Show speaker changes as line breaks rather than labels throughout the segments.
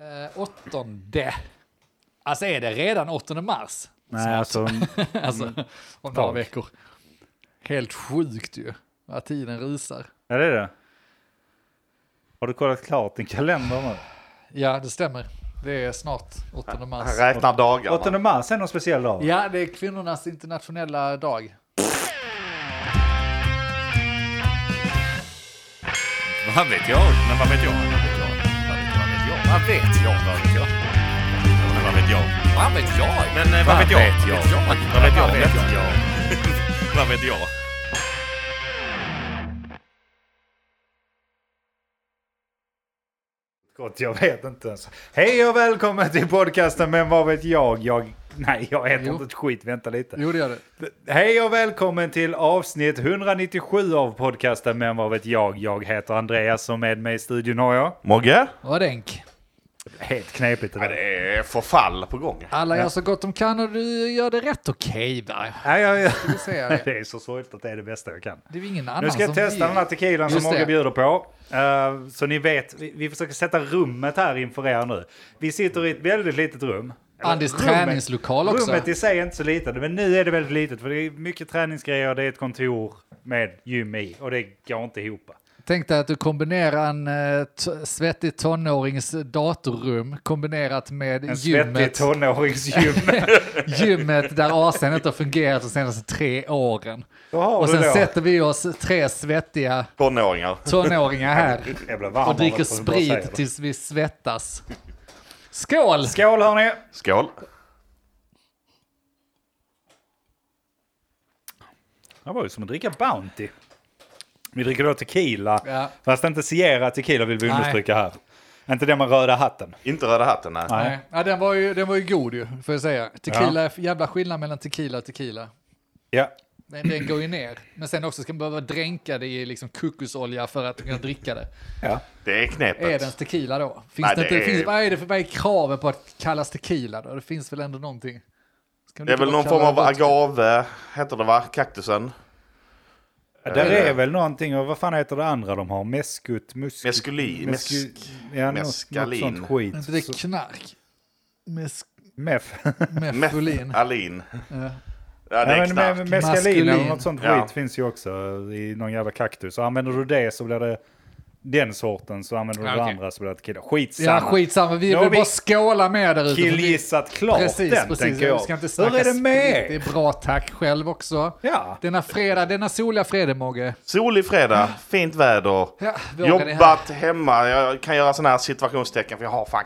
Eh, åttonde. Alltså är det redan 8 mars?
Nej, alltså,
Alltså om några
Tag.
veckor. Helt sjukt ju. Att tiden rusar.
är det det? Har du kollat klart din kalender nu?
Ja, det stämmer. Det är snart 8 mars.
Han räknar dagarna.
8 mars är någon speciell dag?
Ja, det är kvinnornas internationella dag.
Vad vet jag? Men vad vet jag? Vad vet jag? Vad vet jag? Vad vet jag? Men vad vet jag? Vad vet jag? Men eh, vad vet jag? Vad vet jag? Vad vet jag? Vad vet jag?
Gott, jag vet inte ens. Hej och välkommen till podcasten Men vad vet jag? jag nej, jag heter
Jo.
inte ett skit. Vänta lite.
Jo, det gör det.
Hej och välkommen till avsnitt 197 av podcasten Men vad vet jag? Jag heter Andreas och med mig i studion har jag.
Mogge?
Och denk.
Helt knepigt det
Ja,
där.
det är förfall på gång.
Alla gör så gott de kan och du gör det rätt okej där.
Nej, jag, jag,
Ska vi säga det.
det är så sorgligt att det är det bästa jag kan.
Det är ju ingen annan
Nu ska jag
som
testa den här tequilan som
Just
Mogge
det.
bjuder på. Eh, så ni vet, vi, vi försöker sätta rummet här inför er nu. Vi sitter i ett väldigt litet rum. Eller,
Andys
rummet-
träningslokal också.
Rummet i sig är inte så litet, men nu är det väldigt litet. För det är mycket träningsgrejer, det är ett kontor med gym i och det går inte ihop.
Tänk dig att du kombinerar en eh, t- svettig tonårings datorrum kombinerat med
En svettig
gymmet,
tonåringsgym.
gymmet där AC'n inte har fungerat de senaste tre åren.
Då har
Och
du
sen
då.
sätter vi oss tre svettiga
Tonåringar.
tonåringar här
Jag blir varm
och
av det,
dricker
får jag bara säga
sprit
det.
tills vi svettas. Skål!
Skål hörni!
Skål.
Det var ju som att dricka Bounty. Vi dricker då tequila,
Ja.
fast inte Sierra tequila vill vi
Nej.
understryka här. Inte den med röda hatten.
Inte röda hatten, nej.
Nej.
Nej. Ja, den, var ju, den var ju god ju, får jag säga. Tequila, är f- jävla skillnad mellan tequila och tequila.
Ja,
Den, den går ju ner, men sen också ska man behöva dränka det i liksom kokosolja för att kunna dricka det.
ja.
Det är knepet.
Är den tequila då? Finns
Nej,
det inte,
det är-
Finns, vad är det för vad är kraven på att kallas tequila då? Det finns väl ändå någonting? Ska man
Det är
inte
väl
bara
någon form av
kalla det-
agave, heter det va? Kaktusen?
Där
Eh.
är väl någonting, och vad fan heter det andra de har? Meskut, musk...
Meskuli,
mesku-
mesk-
ja, något-
meskalin.
Något sånt skit.
Är inte det knark? Mes,
Mef.
mefulin.
Meth- Alin.
Ja.
Ja, det är
men,
knark.
men, meskalin eller
Maskulin.
något sånt skit
Ja.
finns ju också i någon jävla kaktus. Och använder du det så blir det den sorten, så använder du
Ja,
det
okej.
andra så blir det tequila. Skitsamma.
Ja, skitsamma. Vi
Nu
vill
har vi
bara skåla med där ute. för vi-
Killgissat klart
Precis,
den,
precis.
tänker
Vi
jag.
ska inte snacka
Hur är det
sprit. Det
med?
är bra tack själv också.
Ja.
Denna fredag, denna soliga fredag, Mogge.
Solig fredag, fint väder.
Ja, våren är här.
Jobbat hemma, jag kan göra sådana här situationstecken för jag har fan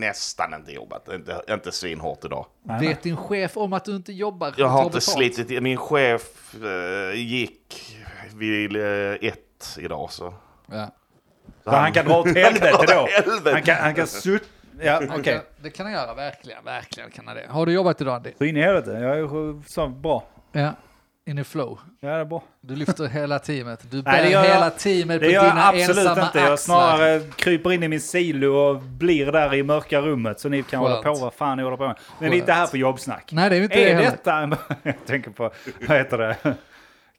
nästan inte jobbat. Inte, inte svinhårt idag.
Vet din chef om att du inte jobbar?
Jag har
Tar
inte
betalt.
slitit, min chef eh, gick vid eh, ett idag så.
Ja.
Så han kan dra åt helvete då.
helvete.
Han kan, han kan sutta... Ja, okej.
Okej. Det kan jag göra, verkligen. Verkligen kan jag det. Har du jobbat idag, Andy?
Så in i helvete. Jag är så bra.
Ja. In i flow.
Ja, det är bra.
Du lyfter hela teamet. Du bär
Nej, det gör jag-
hela teamet på
Det gör jag
dina
absolut
ensamma
inte. Jag
axlar.
snarare kryper in i min silo och blir där i mörka rummet. Så ni kan
Skönt.
hålla på vad fan ni håller på med. Men vi är inte här för jobbsnack.
Nej, det är vi inte
är
heller.
detta... en- jag tänker på, vad heter det?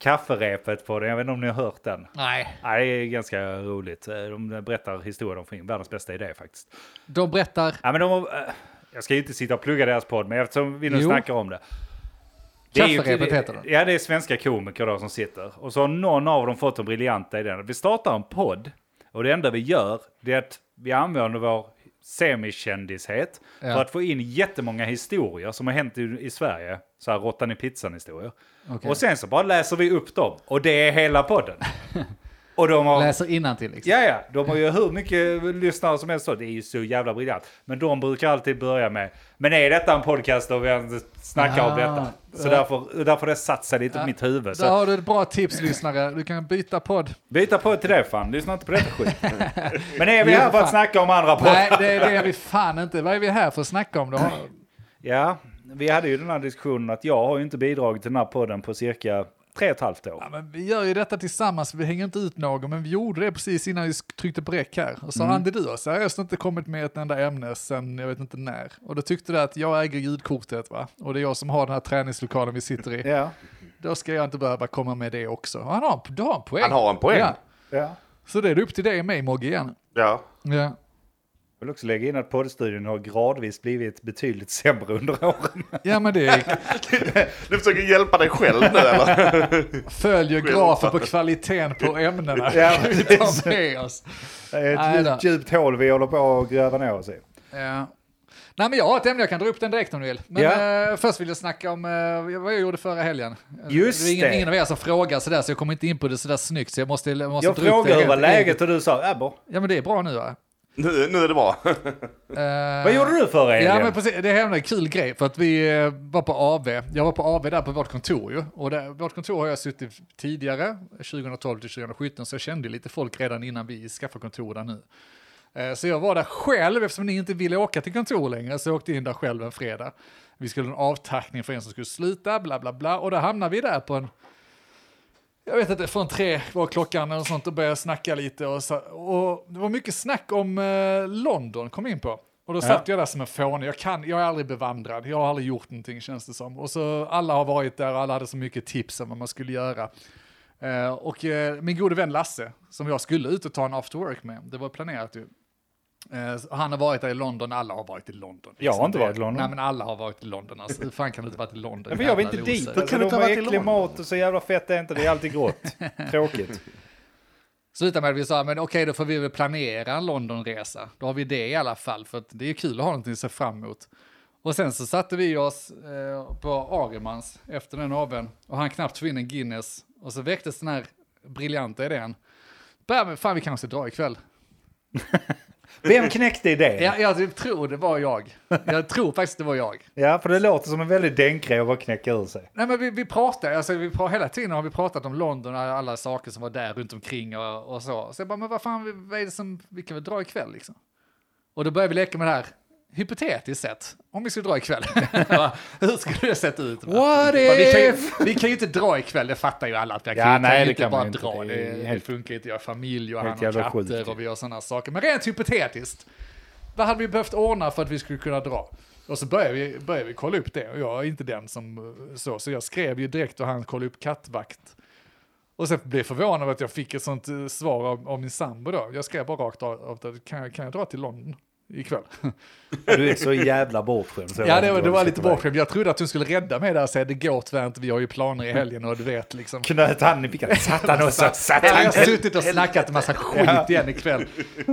Kafferepet på den. Jag vet inte om ni har hört den.
Nej,
Nej, det är ganska roligt. De berättar historier om film. Världens bästa idé faktiskt.
de berättar.
Ja, men de, har- eh, jag ska ju inte sitta och plugga deras podd, men eftersom vi nu
Jo.
snackar om det.
Kafferepet heter den.
Ja, det är svenska komiker då som sitter. Och så har någon av dem fått en briljant idé. Vi startar en podd och det enda vi gör det är att vi använder vår semikändishet
Ja.
för att få in jättemånga historier som har hänt i, i Sverige. Så här råttan i pizzan historier.
Okej.
Och sen så bara läser vi upp dem och det är hela podden. och de har...
Läser innantill liksom.
Ja, ja, de har ju hur mycket lyssnare som helst. så Det är ju så jävla briljant. Men de brukar alltid börja med, men är detta en podcast och vi ens snackar
Ah,
om detta? Så därför, därför har det satt sig lite i mitt huvud.
Där
Så
har du ett bra tips, lyssnare. Du kan byta podd.
byta på till det fan, lyssna inte på detta skit. Men är vi
Jo,
här för att
fan.
snacka om andra
Nej,
poddar?
det är det vi fan inte. Vad är vi här för att snacka om då?
Ja, vi hade ju den här diskussionen att jag har ju inte bidragit till den här podden på cirka tre och ett halvt år.
Ja, men vi gör ju detta tillsammans, vi hänger inte ut någon, men vi gjorde det precis innan vi sk- tryckte på räck här. Och så Andy, du har seriöst inte kommit med ett enda ämne sen jag vet inte när. Och då tyckte du att jag äger ljudkortet va? Och det är jag som har den här träningslokalen vi sitter i.
Ja,
Då ska jag inte behöva komma med det också. Han har, du har en poäng.
Han har en poäng.
Ja.
ja.
Så det är upp till dig och mig Mogge igen.
Ja.
Ja.
Jag vill också lägga in att poddstudion har gradvis blivit betydligt sämre under åren.
Ja men det är,
Du försöker hjälpa dig själv nu eller?
följer grafen på kvaliteten på ämnena.
Ja,
Kan vi ta med oss.
Det
Nej
är Ett
då. Alltså,
djupt, djupt hål vi håller på att gräva ner oss i.
Ja. Eh, Nej men jag har ett ämne, jag kan dra upp den direkt om du vill. Men
Ja.
eh, först vill jag snacka om eh, vad jag gjorde förra helgen. Eh,
Just
det är ingen,
det.
ingen av er som frågar sådär så jag kommer inte in på det sådär snyggt så jag måste, jag måste
Jag
dra upp det
frågade hur
helt
var läget
enkelt.
och du sa "Äh, Abbo.
Ja men det är bra nu va?
Nu, nu är det bra.
Eh,
Vad gjorde du förra helgen?
Ja men precis, det hände en kul grej för att vi eh, var på AV. Jag var på AV där på vårt kontor ju. Och där, vårt kontor har jag suttit tidigare, 2012 till 2017, så jag kände lite folk redan innan vi skaffade kontor där nu. Eh, Så jag var där själv eftersom ni inte ville åka till kontor längre, så jag åkte in där själv en fredag. Vi skulle ha en avtackning för en som skulle sluta, bla bla bla, och då hamnade vi där på en jag vet inte, från tre var klockan eller sånt och började snacka lite. Och, så, och det var mycket snack om eh, London kom in på. Och då satt jag där som en fånig. Jag, kan, jag är aldrig bevandrad. Jag har aldrig gjort någonting känns det som. Och så alla har varit där och alla hade så mycket tips om vad man skulle göra. Eh, och eh, min gode vän Lasse, som jag skulle ut och ta en after work med, det var planerat ju. Eh, så han har varit där i London, alla har varit i London. Liksom.
Jag har inte varit i London.
Nej men alla har varit i London alltså. Hur fan kan du inte varit i London?
Ja, men jag vill
Jävla
inte dit.
loser.
Alltså, kan
kan
de
du inte
har
ha varit i
äcklig
London?
mat och så jävla fett är inte. Det är alltid grått. Tråkigt.
Sluta med att vi sa, men okej då får vi väl planera en Londonresa. Då har vi det i alla fall, för att det är kul att ha någonting att se fram emot. Och sen så satte vi oss eh, på Agermans efter den AWn och han knappt tog in en Guinness. Och så väcktes den här briljanta idén. Bär, men fan vi kanske drar ikväll.
Vem knäckte idén?
Ja, jag tror det var jag. Jag tror faktiskt det var jag.
Ja, för det låter som en väldigt dänkgrej att bara knäcka ur sig.
Nej, men vi, vi pratar, alltså, vi pratar, hela tiden har vi pratat om London och alla saker som var där runt omkring och, och så. Så jag bara, men vad fan, vad är det som, vi kan väl dra ikväll liksom? Och då börjar vi leka med det här, hypotetiskt sett, om vi skulle dra ikväll. Va? Hur skulle det sett ut? va?
What
Va, Vi kan, ju,
if?
vi kan ju inte dra ikväll, det fattar ju alla. Att jag kan,
Ja,
ju-
nej,
kan
det
ju inte
kan man
bara
inte.
dra,
Det är
det, det
helt-
funkar ju inte. Jag har familj och han
helt
har
jävla
katter
sjukt.
och vi gör sådana saker. Men rent hypotetiskt, vad hade vi behövt ordna för att vi skulle kunna dra? Och så började vi, började vi kolla upp det, och jag är inte den som eh, så, så jag skrev ju direkt och han kollade upp kattvakt. Och sen blev jag förvånad över att jag fick ett sånt eh, svar av, av min sambo då. Jag skrev bara rakt av, av det, kan, jag- kan jag dra till London ikväll?
Du är så jävla bortskämd. så jag
ja,
vet
det,
inte
var-
vad
det var lite
du ska ta vägen.
bortskämt. Jag trodde att hon skulle rädda mig där och säga det går tyvärr inte, vi har ju planer i helgen och du vet liksom.
Knöt han i fickan. Satt han och så satt
Jag har
han.
suttit och snackat en massa skit igen ikväll.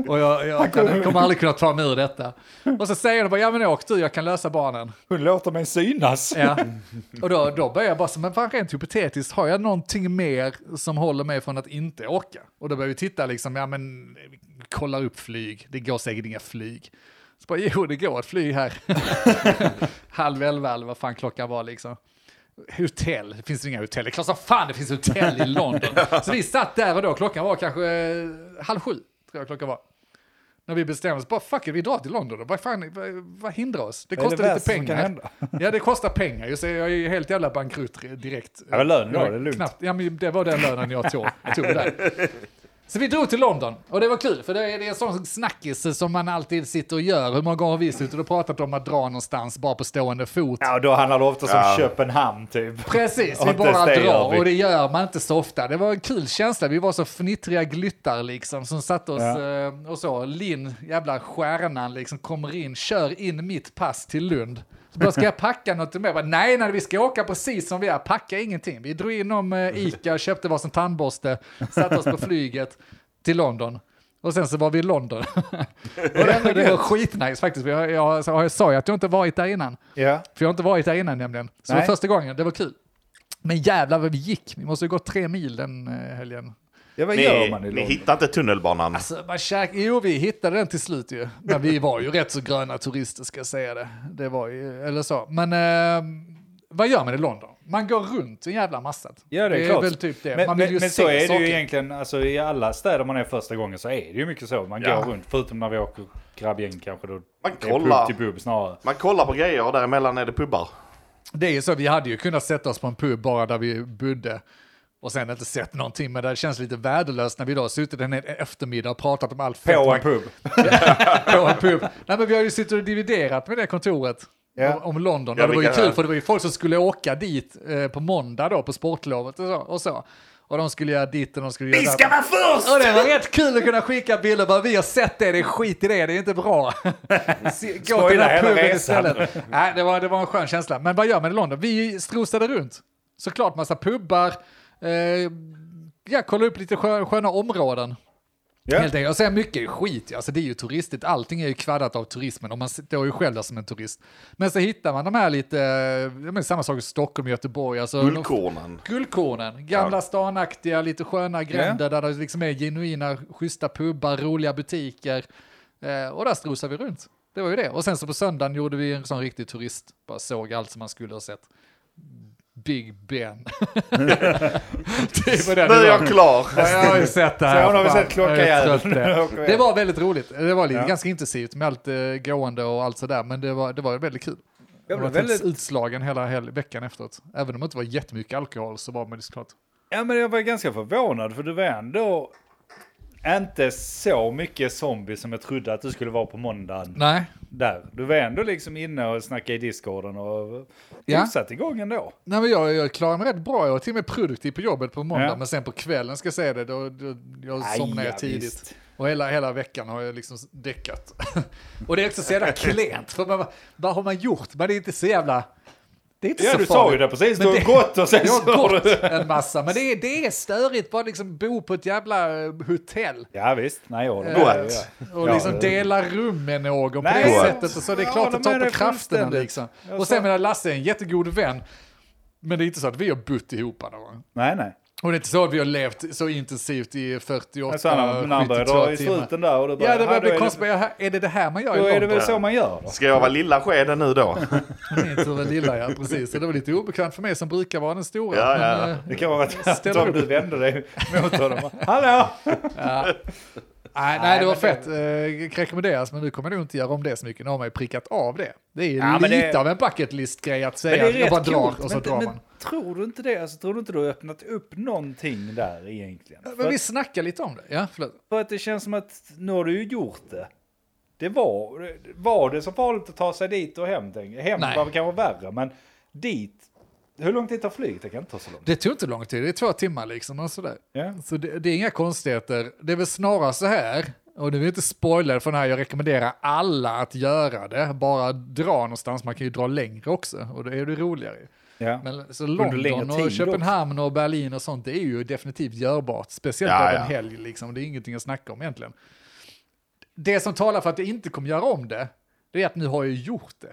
Och jag, jag kan, kommer aldrig kunna ta mig ur detta. Och så säger de bara, ja men åk du, jag kan lösa barnen.
Hon låter mig synas.
Ja. Och då, då börjar jag bara, så, men fan rent hypotetiskt, har jag någonting mer som håller mig från att inte åka? Och då börjar vi titta liksom, ja men kollar upp flyg, det går säkert inga flyg. Så bara, jo det går ett flyg här. Halv elva eller vad fan klockan var liksom. Hotell, det finns inga hotell. Det är klart som fan det finns hotell i London. Så vi satt där och då, klockan var kanske eh, halv sju, tror jag klockan var. När vi bestämde oss, bara fuck it, vi drar till London då. Vad fan, vad, vad hindrar oss? Det
Vad är det
kostar lite
värsta som kan
pengar.
hända?
Ja, det kostar pengar. Jag, säger, jag är ju helt jävla bankrutt direkt.
Ja, men lönen då,
Jag
det är lugnt.
Knappt, ja, men det var den lönen jag tog. Jag tog det där. Så vi drog till London och det var kul för det är, det är en sån snackis som man alltid sitter och gör. Hur många gånger har vi suttit och pratat om att dra någonstans bara på stående fot?
Ja, och då handlar det ofta som
Ja.
Köpenhamn typ.
Precis,
Och
vi
inte ens
bara
det gör
drar
vi.
och det gör man inte så ofta. Det var en kul känsla, vi var så fnittriga gluttar liksom som satte oss
Ja.
eh, och så. Linn, jävla stjärnan liksom kommer in, kör in mitt pass till Lund. Så bara, ska jag packa något mer? Jag bara, Nej, nej, vi ska åka precis som vi är, packa ingenting. Vi drog in om eh, Ica, köpte varsin tandborste, satte oss på flyget till London. Och sen så var vi i London. och det, det var skitnice faktiskt. Jag, jag, jag sa ju att jag inte varit där innan.
Ja.
För jag har inte varit där innan nämligen. Så det
Nej.
var första gången, det var kul. Men jävlar vad vi gick, vi måste ju gå tre mil den eh, helgen.
ja, vad gör
Ni,
man i
ni
London?
hittar inte tunnelbanan.
Alltså, man käk... Jo, vi hittade den till slut ju. Men vi var ju rätt så gröna turister ska jag säga det. Det var ju, eller så. Men eh, vad gör man i London? Man går runt en jävla massa.
Ja, det är,
det
klart.
är väl typ det.
Men,
man vill ju
men, men
se
så är det
saker.
ju egentligen, alltså i alla städer man är första gången så är det ju mycket så. Man
Ja.
går runt, förutom när vi åker grabbgäng kanske då.
Man
det är
kollar.
Pub till pub snarare.
Man kollar på grejer och däremellan är det pubbar.
Det är ju så, vi hade ju kunnat sätta oss på en pub bara där vi bodde och sen inte sett någonting, men det känns lite värdelöst när vi då har suttit en hel eftermiddag och pratat om allt fett
På
man
en pub.
på en pub. Nej, men vi har ju suttit och dividerat med det kontoret.
Ja.
Om, om London.
Ja,
och det var ju
vilka-
kul för det var ju folk som skulle åka dit eh, på måndag då på sportlovet och så. Och, så. Och de skulle göra ditt och de skulle göra
Vi ska vara först!
Och det var rätt kul att kunna skicka bilder bara vi har sett det, det är skit i det, det är inte bra. Se- Gå till den
Spoila
här
hela
puben
resan.
istället. Nej, det var, det var en skön känsla. Men vad gör man i London? Vi strosade runt. Såklart massa pubbar. Eh, ja, kolla upp lite skö- sköna områden.
Ja.
Helt enkelt. Och sen mycket skit, ja. alltså det är ju turistigt. Allting är ju kvaddat av turismen och man står ju själv där som en turist. Men så hittar man de här lite, eh, men samma sak i Stockholm, Göteborg. Alltså,
Guldkornen.
Guldkornen, gamla stanaktiga, lite sköna gränder där det liksom är genuina, schyssta pubbar, roliga butiker. Eh, och där strosade vi runt. Det var ju det. Och sen så på söndagen gjorde vi en sån riktig turist, bara såg allt som man skulle ha sett. Big Ben. det var den
Nu är
nivån.
jag klar.
Ja, jag har ju sett det här.
Så nu har vi
Fan,
sett klockan
jag är
igen.
trött på det.
Nu åker vi
Det
hem.
var väldigt roligt. Det var lite, ganska intensivt med allt eh, gående och allt sådär, men det var, det var väldigt kul.
Jag
Jag
blev
var
väldigt
väldigt utslagen hela hel veckan efteråt. Även om det inte var jättemycket alkohol så var man ju såklart.
Ja, men jag var ganska förvånad för du var ändå inte så mycket zombie som jag trodde att du skulle vara på måndagen.
Nej,
Där. Du var ändå liksom inne och snackade i discorden och
Ja.
ja. satt igång ändå.
Nej, men jag, jag klarar mig rätt bra. Jag var till och med produktiv på jobbet på måndag,
Ja.
men sen på kvällen ska jag säga det, då, då, jag
Aj,
somnar
ja,
jag tidigt.
visst.
Och hela, hela veckan har jag liksom däckat. och det är också så jävla klent, för man, bara, vad har man gjort? Men det är inte så jävla... Det är inte
Ja,
så
du
farligt.
sa ju det precis. Du
Men
har gått och sen
Jag
så
har
har du...
gått en massa, men det är, det är störigt. Bara liksom bo på ett jävla eh, hotell.
Ja, visst. Nej, jag håller
Eh,
med.
What?
Och
Ja. eh.
liksom dela rum med någon på
Nej,
det
jag-
sättet. Och så det är
jag
klart
håller
att ta
med
på
dig
krafterna
fullständigt.
liksom.
Jag
Och sen
sa-
menar Lasse är en jättegod vän. Men det är inte så att vi har bott ihop någon gång.
Nej, nej.
Och det är inte så att vi har levt så intensivt i
Jag sa när
48,
men han började
72
dra i
timmar.
sluten där och du
Ja,
bara,
det börjar
"Ja, då är
bli konstigt. Är, är det det här man gör i
Då är det
London?
väl så man gör då.
Ska jag vara lilla skeden nu då?
Min tur är lilla, ja precis. Så det var lite obekvämt för mig som brukar vara den stora.
Ja,
men,
ja.
eh,
Det kan vara att
Ställer
om
upp.
du vänder dig mot honom. Hallå!
Nej, nej, det var
men
fett. Eh, rekommenderas, men nu kommer jag nog inte göra om det så mycket. Nu har man ju prickat av det. Det är
Ja,
lite
men det-
av en bucket list-grej att
Men
säga
det är
att jag
rätt
bara drar
coolt,
och så
men,
drar man.
men tror du inte det? Alltså, tror du inte du har öppnat upp någonting där egentligen?
Men
för,
vi
att,
snackar lite om det. Ja, förlåt.
för att det känns som att nu har du ju gjort det. Det var, var det så farligt att ta sig dit och hem? tänk- Hem
Nej.
var väl kanske värre, men dit. Hur lång tid tar flyget? Det kan inte ta så lång tid.
Det tog inte lång tid, det är två timmar liksom. Och sådär.
Ja.
Så det, det är inga konstigheter. Det är väl snarare så här, och nu är jag inte spoiler för den här, jag rekommenderar alla att göra det. Bara dra någonstans, man kan ju dra längre också och då är det roligare.
Ja.
Men så
längre
London
tid
och
också.
Köpenhamn och Berlin och sånt, det är ju definitivt görbart. Speciellt
Ja,
över
ja.
en helg, liksom. det är ingenting att snacka om egentligen. Det som talar för att jag inte kommer göra om det, det är att nu har jag ju gjort det.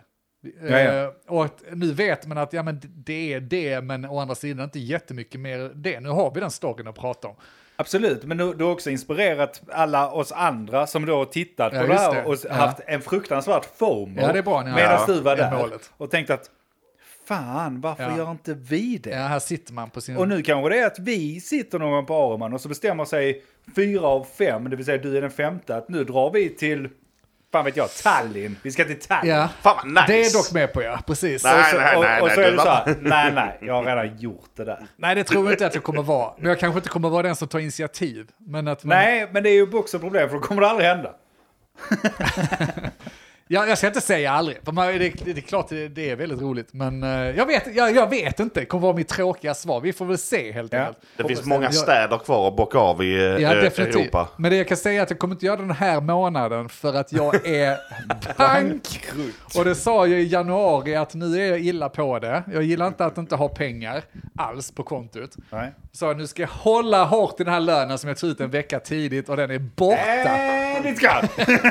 Ja, ja.
Eh, och att nu vet man att ja, men det är det, men å andra sidan inte jättemycket mer det. Nu har vi den storyn att prata om.
Absolut, men du, du har också inspirerat alla oss andra som då har tittat
Ja,
på det
just
här
det.
och s-
Ja.
haft en fruktansvärd fomo
Ja, det är bra när jag-
medan
Ja,
du var
det är
där
målet.
och tänkt att fan, varför
Ja.
gör inte vi det?
Ja, här sitter man på sin...
Och nu kanske det är att vi sitter någon gång på Aroman och så bestämmer sig fyra av fem, det vill säga du är den femte, att nu drar vi till, fan vet jag, Tallinn. Vi ska till Tallinn.
ja.
Fan vad nice!
Det är dock med på, ja. Precis.
Nej.
Och så, och,
nej,
och så
nej,
är
du
det så
var-
här, nej, nej, jag har redan gjort det där.
Nej, det tror jag inte att jag kommer vara. Men jag kanske inte kommer vara den som tar initiativ. Men att man...
Nej, men det är ju också ett problem för då kommer det aldrig hända.
Ja, jag ska inte säga aldrig, för man, det, det är klart det, det är väldigt roligt. Men eh, jag, vet, jag, jag vet inte, det kommer vara mitt tråkiga svar. Vi får väl se helt
Ja.
enkelt.
Det
Hoppas
finns många
jag-
städer kvar att bocka av i eh,
Ja,
eh,
definitivt.
Europa.
Men det jag kan säga är att jag kommer inte göra det den här månaden för att jag är bank. Och det sa jag i januari att nu är jag illa på det. Jag gillar inte att inte ha pengar alls på kontot.
Nej.
Så nu ska jag hålla hårt i den här lönen som jag tog ut en vecka tidigt och den är
Äh!
borta.
And it's gone!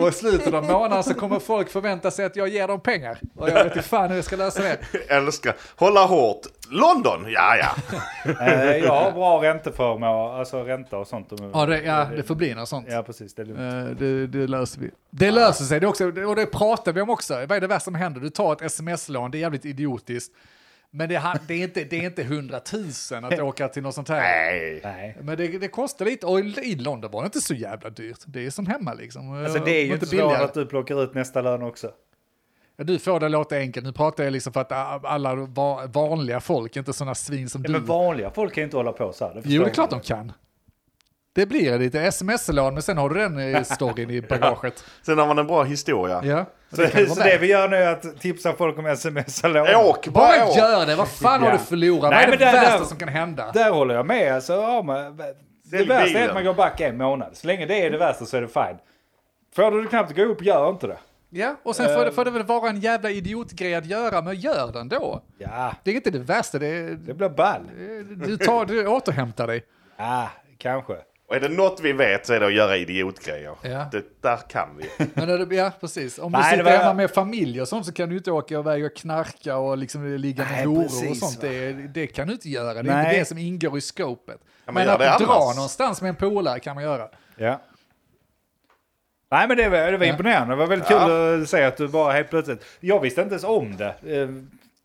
Och i slutet av månaden så kommer folk förvänta sig att jag ger dem pengar. Och jag vet inte fan hur jag ska lösa det.
Älskar. Hålla hårt. London! Ja, ja.
Eh, jag har bra ränteförmåner, alltså ränta och sånt.
Ja, det, ja, det får bli något sånt.
Ja, precis. Det är lugnt.
Eh, Det, det löser vi. Det löser sig, det är också, och det pratar vi om också. Vad är det värsta som händer? Du tar ett sms-lån, det är jävligt idiotiskt. Men det, han- det, är, inte, det är inte hundratusen att åka till något sånt här.
Nej.
Nej.
Men det, det kostar lite, och i i London var det inte så jävla dyrt. Det är som hemma liksom.
Alltså det är ju inte svårt att du plockar ut nästa lön också.
Ja, Du får det låta enkelt, nu pratar jag liksom för att a- alla va- vanliga folk, inte sådana svin som
Ja,
du.
men vanliga folk kan ju inte hålla på så här.
Jo, det är
förstår
klart
man.
de kan. Det blir lite sms-lån, men sen har du den i storyn i bagaget.
Sen har man en bra historia.
Ja.
Så,
Det kan
det,
vara
så
med.
det vi gör nu är att tipsa folk om sms-lån.
Åk,
Bara
bara åk!
gör det, vad fan har
Ja.
du förlorat?
Nej,
vad är
men
det
där-
värsta
där-
som kan hända?
Där håller jag med. Alltså, ja, men, det
Sälj
värsta är
bilen.
att man går back en månad. Så länge det är det värsta så är det fine. Får du det knappt att gå upp, gör inte det.
Ja, och sen
Eh.
får det, får det väl vara en jävla idiotgrej att göra, men gör den då.
Ja,
Det är inte det värsta, det är,
det blir ball.
du, tar, du återhämtar dig.
Ja, kanske.
Och är det något vi vet så är det att göra idiotgrejer.
Ja.
Det där kan vi.
Men när du, ja, precis. Om du
Nej, det
sitter
var-
hemma med familj och sånt så kan du inte åka iväg och knarka och liksom ligga med
Nej,
horor och
precis,
sånt.
va.
Det, det kan du inte göra, det är
Nej.
inte det som ingår i scopet.
men
men
gör
att
det
dra
annars.
någonstans med en polare kan man göra.
Ja. Nej men det var, det var imponerande. Det var väldigt kul att se att du bara helt plötsligt. Jag visste inte ens om det. Eh,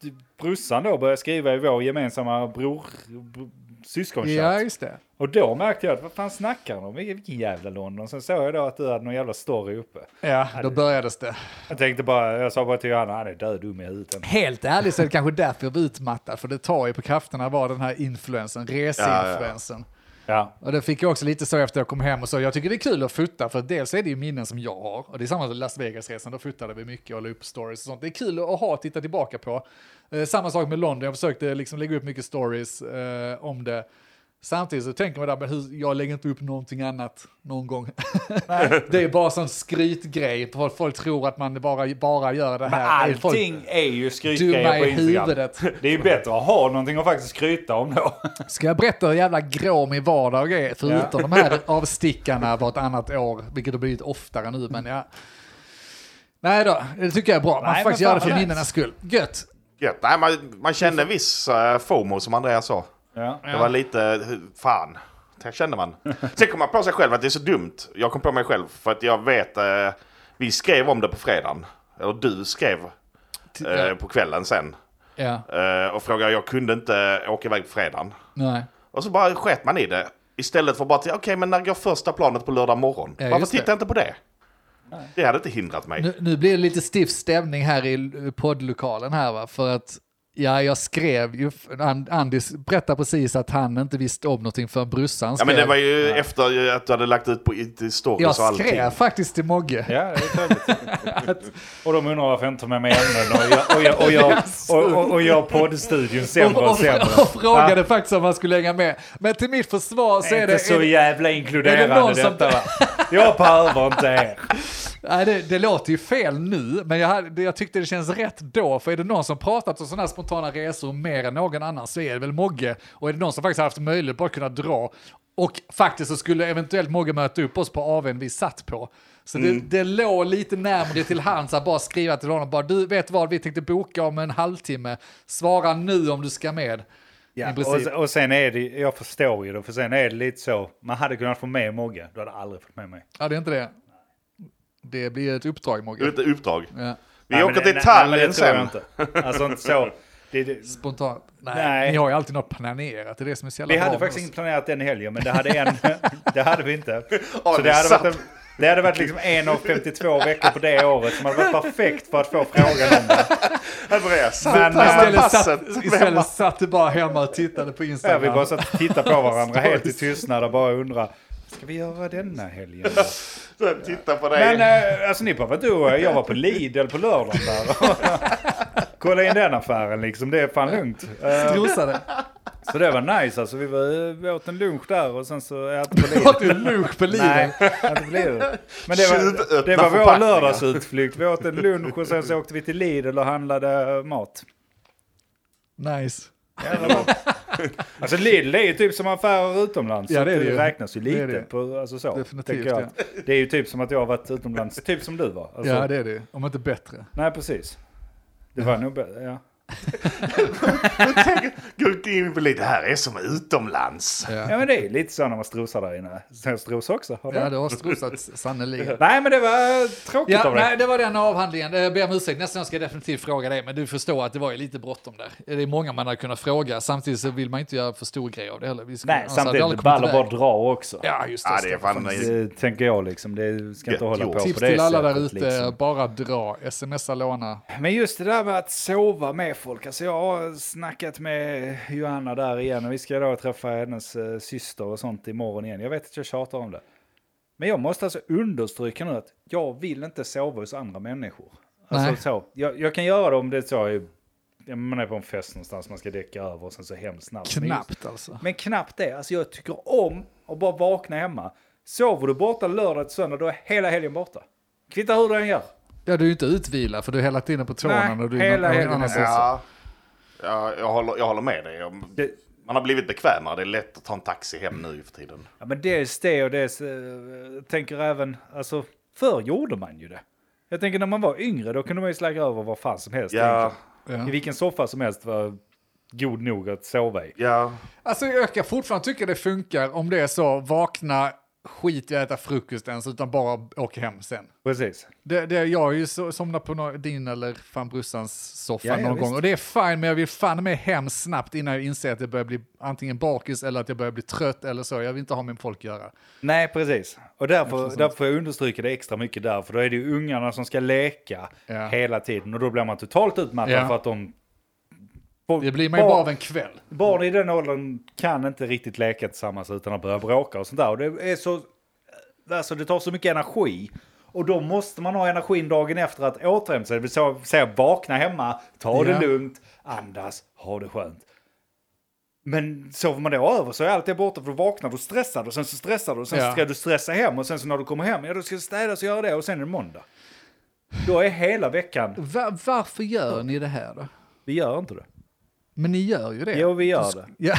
du- Brorsan då började skriva i vår gemensamma bror b- syskonchatt.
Ja, just det.
Och då märkte jag att vad fan snackar han om? Vilken jävla London? Sen såg jag då att du hade någon jävla story uppe.
Ja, då börjades det.
Jag tänkte bara, jag sa bara till Johanna, han är död dum i huvudet.
Helt ärligt så är det kanske därför jag blir utmattad, för det tar ju på krafterna att vara den här influensen, reseinfluensen.
Ja.
Och det fick jag också lite så efter jag kom hem och så. Jag tycker det är kul att fota för dels är det ju minnen som jag har. Och det är samma som Las Vegas-resan, då fotade vi mycket och la upp stories och sånt. Det är kul att ha och titta tillbaka på. Eh, samma sak med London, jag försökte liksom lägga upp mycket stories eh, om det. Samtidigt så tänker man där, men hur, jag lägger inte upp någonting annat någon gång. det är bara sån skrytgrej, folk, folk tror att man bara, bara gör det
Men
här. Folk-
allting är ju
dumma
skrytgrejer på
i
Instagram.
huvudet.
Det är ju bättre att ha någonting att faktiskt skryta om då.
Ska jag berätta hur jävla grå min vardag är? Förutom de här avstickarna vartannat år, vilket har blivit oftare nu. Men ja. Nej då, det tycker jag är bra. Man
Nej,
får faktiskt
men
göra det
fan
för
vad
minnenas skull. Gött!
Gött. Nej, man, man kände en viss eh, FOMO som Andreas sa.
Ja.
Det var lite, hu- fan. Det kände man. Sen kom man på sig själv att det är så dumt. Jag kom på mig själv för att jag vet, eh, vi skrev om det på fredagen. Eller du skrev
T-
eh,
ja,
på kvällen sen.
ja,
Eh, och frågade, jag kunde inte åka iväg på fredagen.
nej.
Och så bara sket man i det. Istället för bara att, okej men när går första planet på lördag morgon?
Ja,
Varför
just det.
tittar jag inte på det? Det hade inte hindrat mig.
Nu, nu blir det lite stiff stämning här i l- poddlokalen här va, för att ja, jag skrev ju, And- Andis berättade precis att han inte visste om någonting förrän brorsan
Ja
skrev.
men det var ju efter att du hade lagt ut på i- i
jag
stories och allting.
skrev faktiskt till Mogge.
Ja, det är trevligt. och de undrar varför jag inte tar med mig ämnen och jag, och jag, och jag, och, och, och jag poddstudion sämre
Och,
och
och,
sämre.
och frågade faktiskt om han skulle hänga med. Men till mitt försvar så
Det är
är det...
inte så jävla
är det någon
inkluderande
som-
detta va? Jag behöver inte er.
Nej, det, det låter ju fel nu, men jag, hade, det- jag tyckte det känns rätt då. För är det någon som pratat om sådana här spontana resor mer än någon annan så är det väl Mogge. Och är det någon som faktiskt har haft möjlighet att bara kunna dra. Och faktiskt så skulle eventuellt Mogge möta upp oss på AWn vi satt på. Så det,
Mm.
det låg lite närmare till hands att bara skriva till honom, bara du vet vad, vi tänkte boka om en halvtimme. Svara nu om du ska med.
Ja,
I princip.
och, och sen är det, jag förstår ju det, för sen är det lite så, man hade kunnat få med Mogge, du hade aldrig fått med mig.
Ja, det är inte det. Det blir ett uppdrag, Mogge.
Ut- Uppdrag.
Ja.
Vi
Nej,
åker
men-
till
nej,
Tallinn
nej, men det tror jag
sen.
inte. Alltså inte så. Det, det,
Spontant. Nej,
Nej.
ni har ju alltid något planerat. Det är det som är så jävla
vi
bra
hade
med
faktiskt
oss.
inte planerat den helgen, men det hade en, det hade vi inte.
Ja,
Så
det
det
är
hade varit en,
sant.
det hade varit liksom en av 52 veckor på det året som hade varit perfekt för att få frågan om det.
Andreas.
Men,
Nej, men
Istället,
passet.
satt, istället satt du bara hemma och tittade på
Ja,
Instagram.
vi bara satt och tittade på varandra helt i tystnad och bara undra. Ska vi göra denna helgen? då?"
Sen Titta på dig.
Men eh, alltså ni behöver inte oroa er. Jag var på Lidl på lördagen där. Kolla in den affären liksom. Det är fan lugnt. Eh,
Strosade.
Så det var nice alltså. Vi, var, vi åt en lunch där och sen så jag på Lidl.
Har du lunch på livet?
Nej, inte Lidl. Men det
Tjuvöppna
var, det var vår
förpackningar.
lördagsutflykt. Vi åt en lunch och sen så åkte vi till Lidl och handlade mat.
Nice.
Alltså Lidl är ju typ som affärer utomlands.
Ja, det är
Så
det ju.
räknas ju
Det
lite
är det.
på, alltså så.
Definitivt,
tänker jag. Det är ju typ som att jag har varit utomlands, typ som du var. Alltså,
Ja, det är det. Om inte bättre.
Nej, precis. Det var nog bättre, ja.
Gå in på lite. Det här är som utomlands.
Ja, men det är lite så när man strosar där inne. Sen jag strosar också, har du?
Ja, det har strosats sannerligen.
Nej, men det var tråkigt
Ja,
av dig.
nej, det var den avhandlingen. Eh, Jag ber om ursäkt, nästa gång ska jag definitivt fråga dig, men du förstår att det var ju lite bråttom där. Det är många man har kunnat fråga, samtidigt så vill man inte göra för stor grej av det heller. Vi skulle-
Nej,
alltså, vi
samtidigt,
hade
det
kommit
ballar bara
iväg.
dra också.
Ja, just det.
Ja, det är
Stefan.
fan...
Det tänker jag liksom. Det ska inte
Gött
hålla
gjort.
på
Tips
på det
till alla där
sättet,
ute,
liksom.
bara dra, smsa, låna.
Men just det där med att sova med folk. Alltså jag har snackat med Johanna där igen och vi ska då träffa hennes eh, syster och sånt imorgon igen. Jag vet att jag tjatar om det. Men jag måste alltså understryka nu att jag vill inte sova hos andra människor.
Nej.
Alltså så. Jag, jag kan göra det om det är så, eh, man är på en fest någonstans, man ska däcka över och sen så hem snabbt. Men just-
Knappt alltså.
men knappt det. Alltså jag tycker om att bara vakna hemma. Sover du borta lördag till söndag, då är hela helgen borta. Kvittar hur du än gör.
Ja, du är ju inte utvilad för du är hela tiden på tårna
Nej,
och du
hela
är
helgen.
annanstans.
Ja, ja jag, håller, jag håller med dig. Jag,
Det,
man har blivit bekvämare. Det är lätt att ta en taxi hem nu för tiden.
ja, men dels det och dels, eh, jag tänker även, alltså förr gjorde man ju det. Jag tänker när man var yngre, då kunde man ju slagga över vad fan som helst.
Ja.
egentligen. I
Ja.
vilken soffa som helst var god nog att sova i.
Ja,
Alltså jag kan fortfarande tycka det funkar om det är så, vakna, skit i att äta frukost ens, utan bara åka hem sen.
Precis.
Det, det, jag har ju so- somnat på nå- din eller fan brussans soffa
Ja, ja,
någon
visst.
gång och det är fine men jag vill fan med hem snabbt innan jag inser att jag börjar bli antingen bakis eller att jag börjar bli trött eller så. Jag vill inte ha med folk att göra.
Nej, precis. Och därför, därför får jag understryka det extra mycket där, för då är det ju ungarna som ska leka
Ja.
hela tiden och då blir man totalt utmattad
Ja.
för att de...
Det blir man ju bara av en kväll.
Barn i den åldern kan inte riktigt leka tillsammans utan att börja bråka och sånt där. Och det, är så, alltså det tar så mycket energi. Och då måste man ha energin dagen efter att återhämta sig. Det vill säga- säga vakna hemma, ta
Ja.
det lugnt, andas, ha det skönt. Men sover man då över så är allt det borta för då vaknar du stressad och sen så stressar du och sen
Ja.
så ska du stressa hem och sen så när du kommer hem, ja då ska det städas och göra det och sen är det måndag. Då är hela veckan,
Va- varför gör ni det här då?
vi gör inte det.
Men ni gör ju det.
Jo vi gör det.
Ja.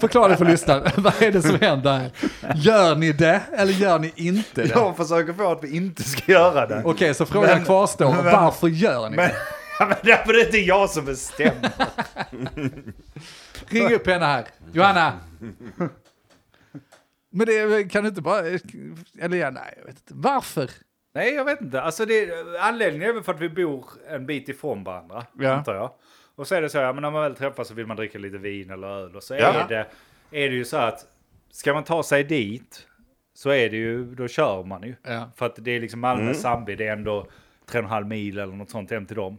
Förklara det för lyssnaren. Vad är det som händer här? Gör ni det eller gör ni inte det?
Jag försöker få att vi inte ska göra det.
Okej, så frågan kvarstår. varför gör ni
Men,
det?
Ja, men därför är det inte jag som bestämmer.
Ring upp henne här. Johanna! Men det kan du inte bara... Eller ja, nej, jag vet inte. Varför?
Nej, jag vet inte. Alltså det, anledningen är väl för att vi bor en bit ifrån varandra,
Ja.
antar jag. Och så är det så, ja, men när man väl träffas så vill man dricka lite vin eller öl. Och så
Ja.
är, det, är det ju så att ska man ta sig dit så är det ju, då kör man ju.
Ja.
För att det är liksom Malmö, Sandby, det är ändå tre och en halv mil eller något sånt hem till dem.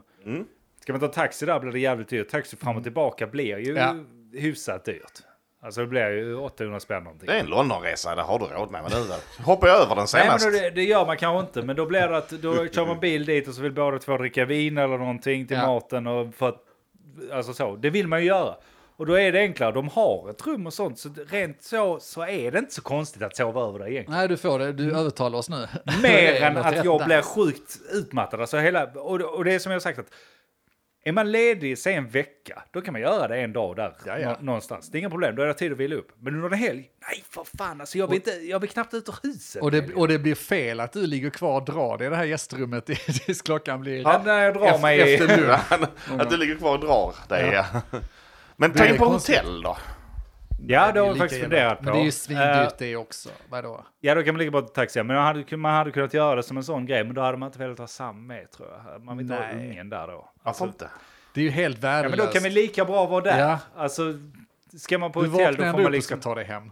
Ska man ta taxi där blir det jävligt dyrt. Taxi fram och tillbaka blir ju
Ja.
hyfsat dyrt. Alltså det blir ju 800 spänn någonting.
det är en Londonresa. Det har du råd med. Men nu då? hoppar jag över den senast.
Nej, men då, det, det gör man kanske inte, men då blir det att då kör man bil dit och så vill båda två dricka vin eller någonting till
Ja.
maten och för att, alltså så, det vill man ju göra. Och då är det enklare, de har ett rum och sånt, så rent så, så är det inte så konstigt att sova över där egentligen.
Nej, du får det. Du övertalar oss nu.
Mer än att jag blir sjukt utmattad, alltså hela, och, och det är som jag har sagt att är man ledig, säg en vecka, då kan man göra det en dag där
Ja, ja.
nå- någonstans. Det är inga problem, då är det tid att vila upp. Men under en helg, nej för fan, alltså jag vill, inte, jag vill knappt ut ur huset.
Och det, och det blir fel att du ligger kvar och drar det i det här gästrummet tills klockan blir...
Ja, när jag drar
Efter-
mig i-
efter lunch.
att du ligger kvar och drar dig. ja. Men ta
Det är
in på
konstigt.
hotell då.
Ja, det
är
har jag
lika
faktiskt
jävla-
funderat på.
Men det är ju
Eh,
svindyrt det också. Vadå?
ja, då kan man ligga på taxi. Men man hade, man hade kunnat göra det som en sån grej, men då hade man inte velat ha Sam med tror jag. Man vill inte ha
Nej.
ungen där då.
Varför inte?
Det är ju helt
Ja, men
värdelöst.
då kan vi lika bra vara där.
Ja.
Alltså, ska man på
du
hotell
vaknar
då
ändå
får
upp
man
och ska
liksom...
ta dig hem.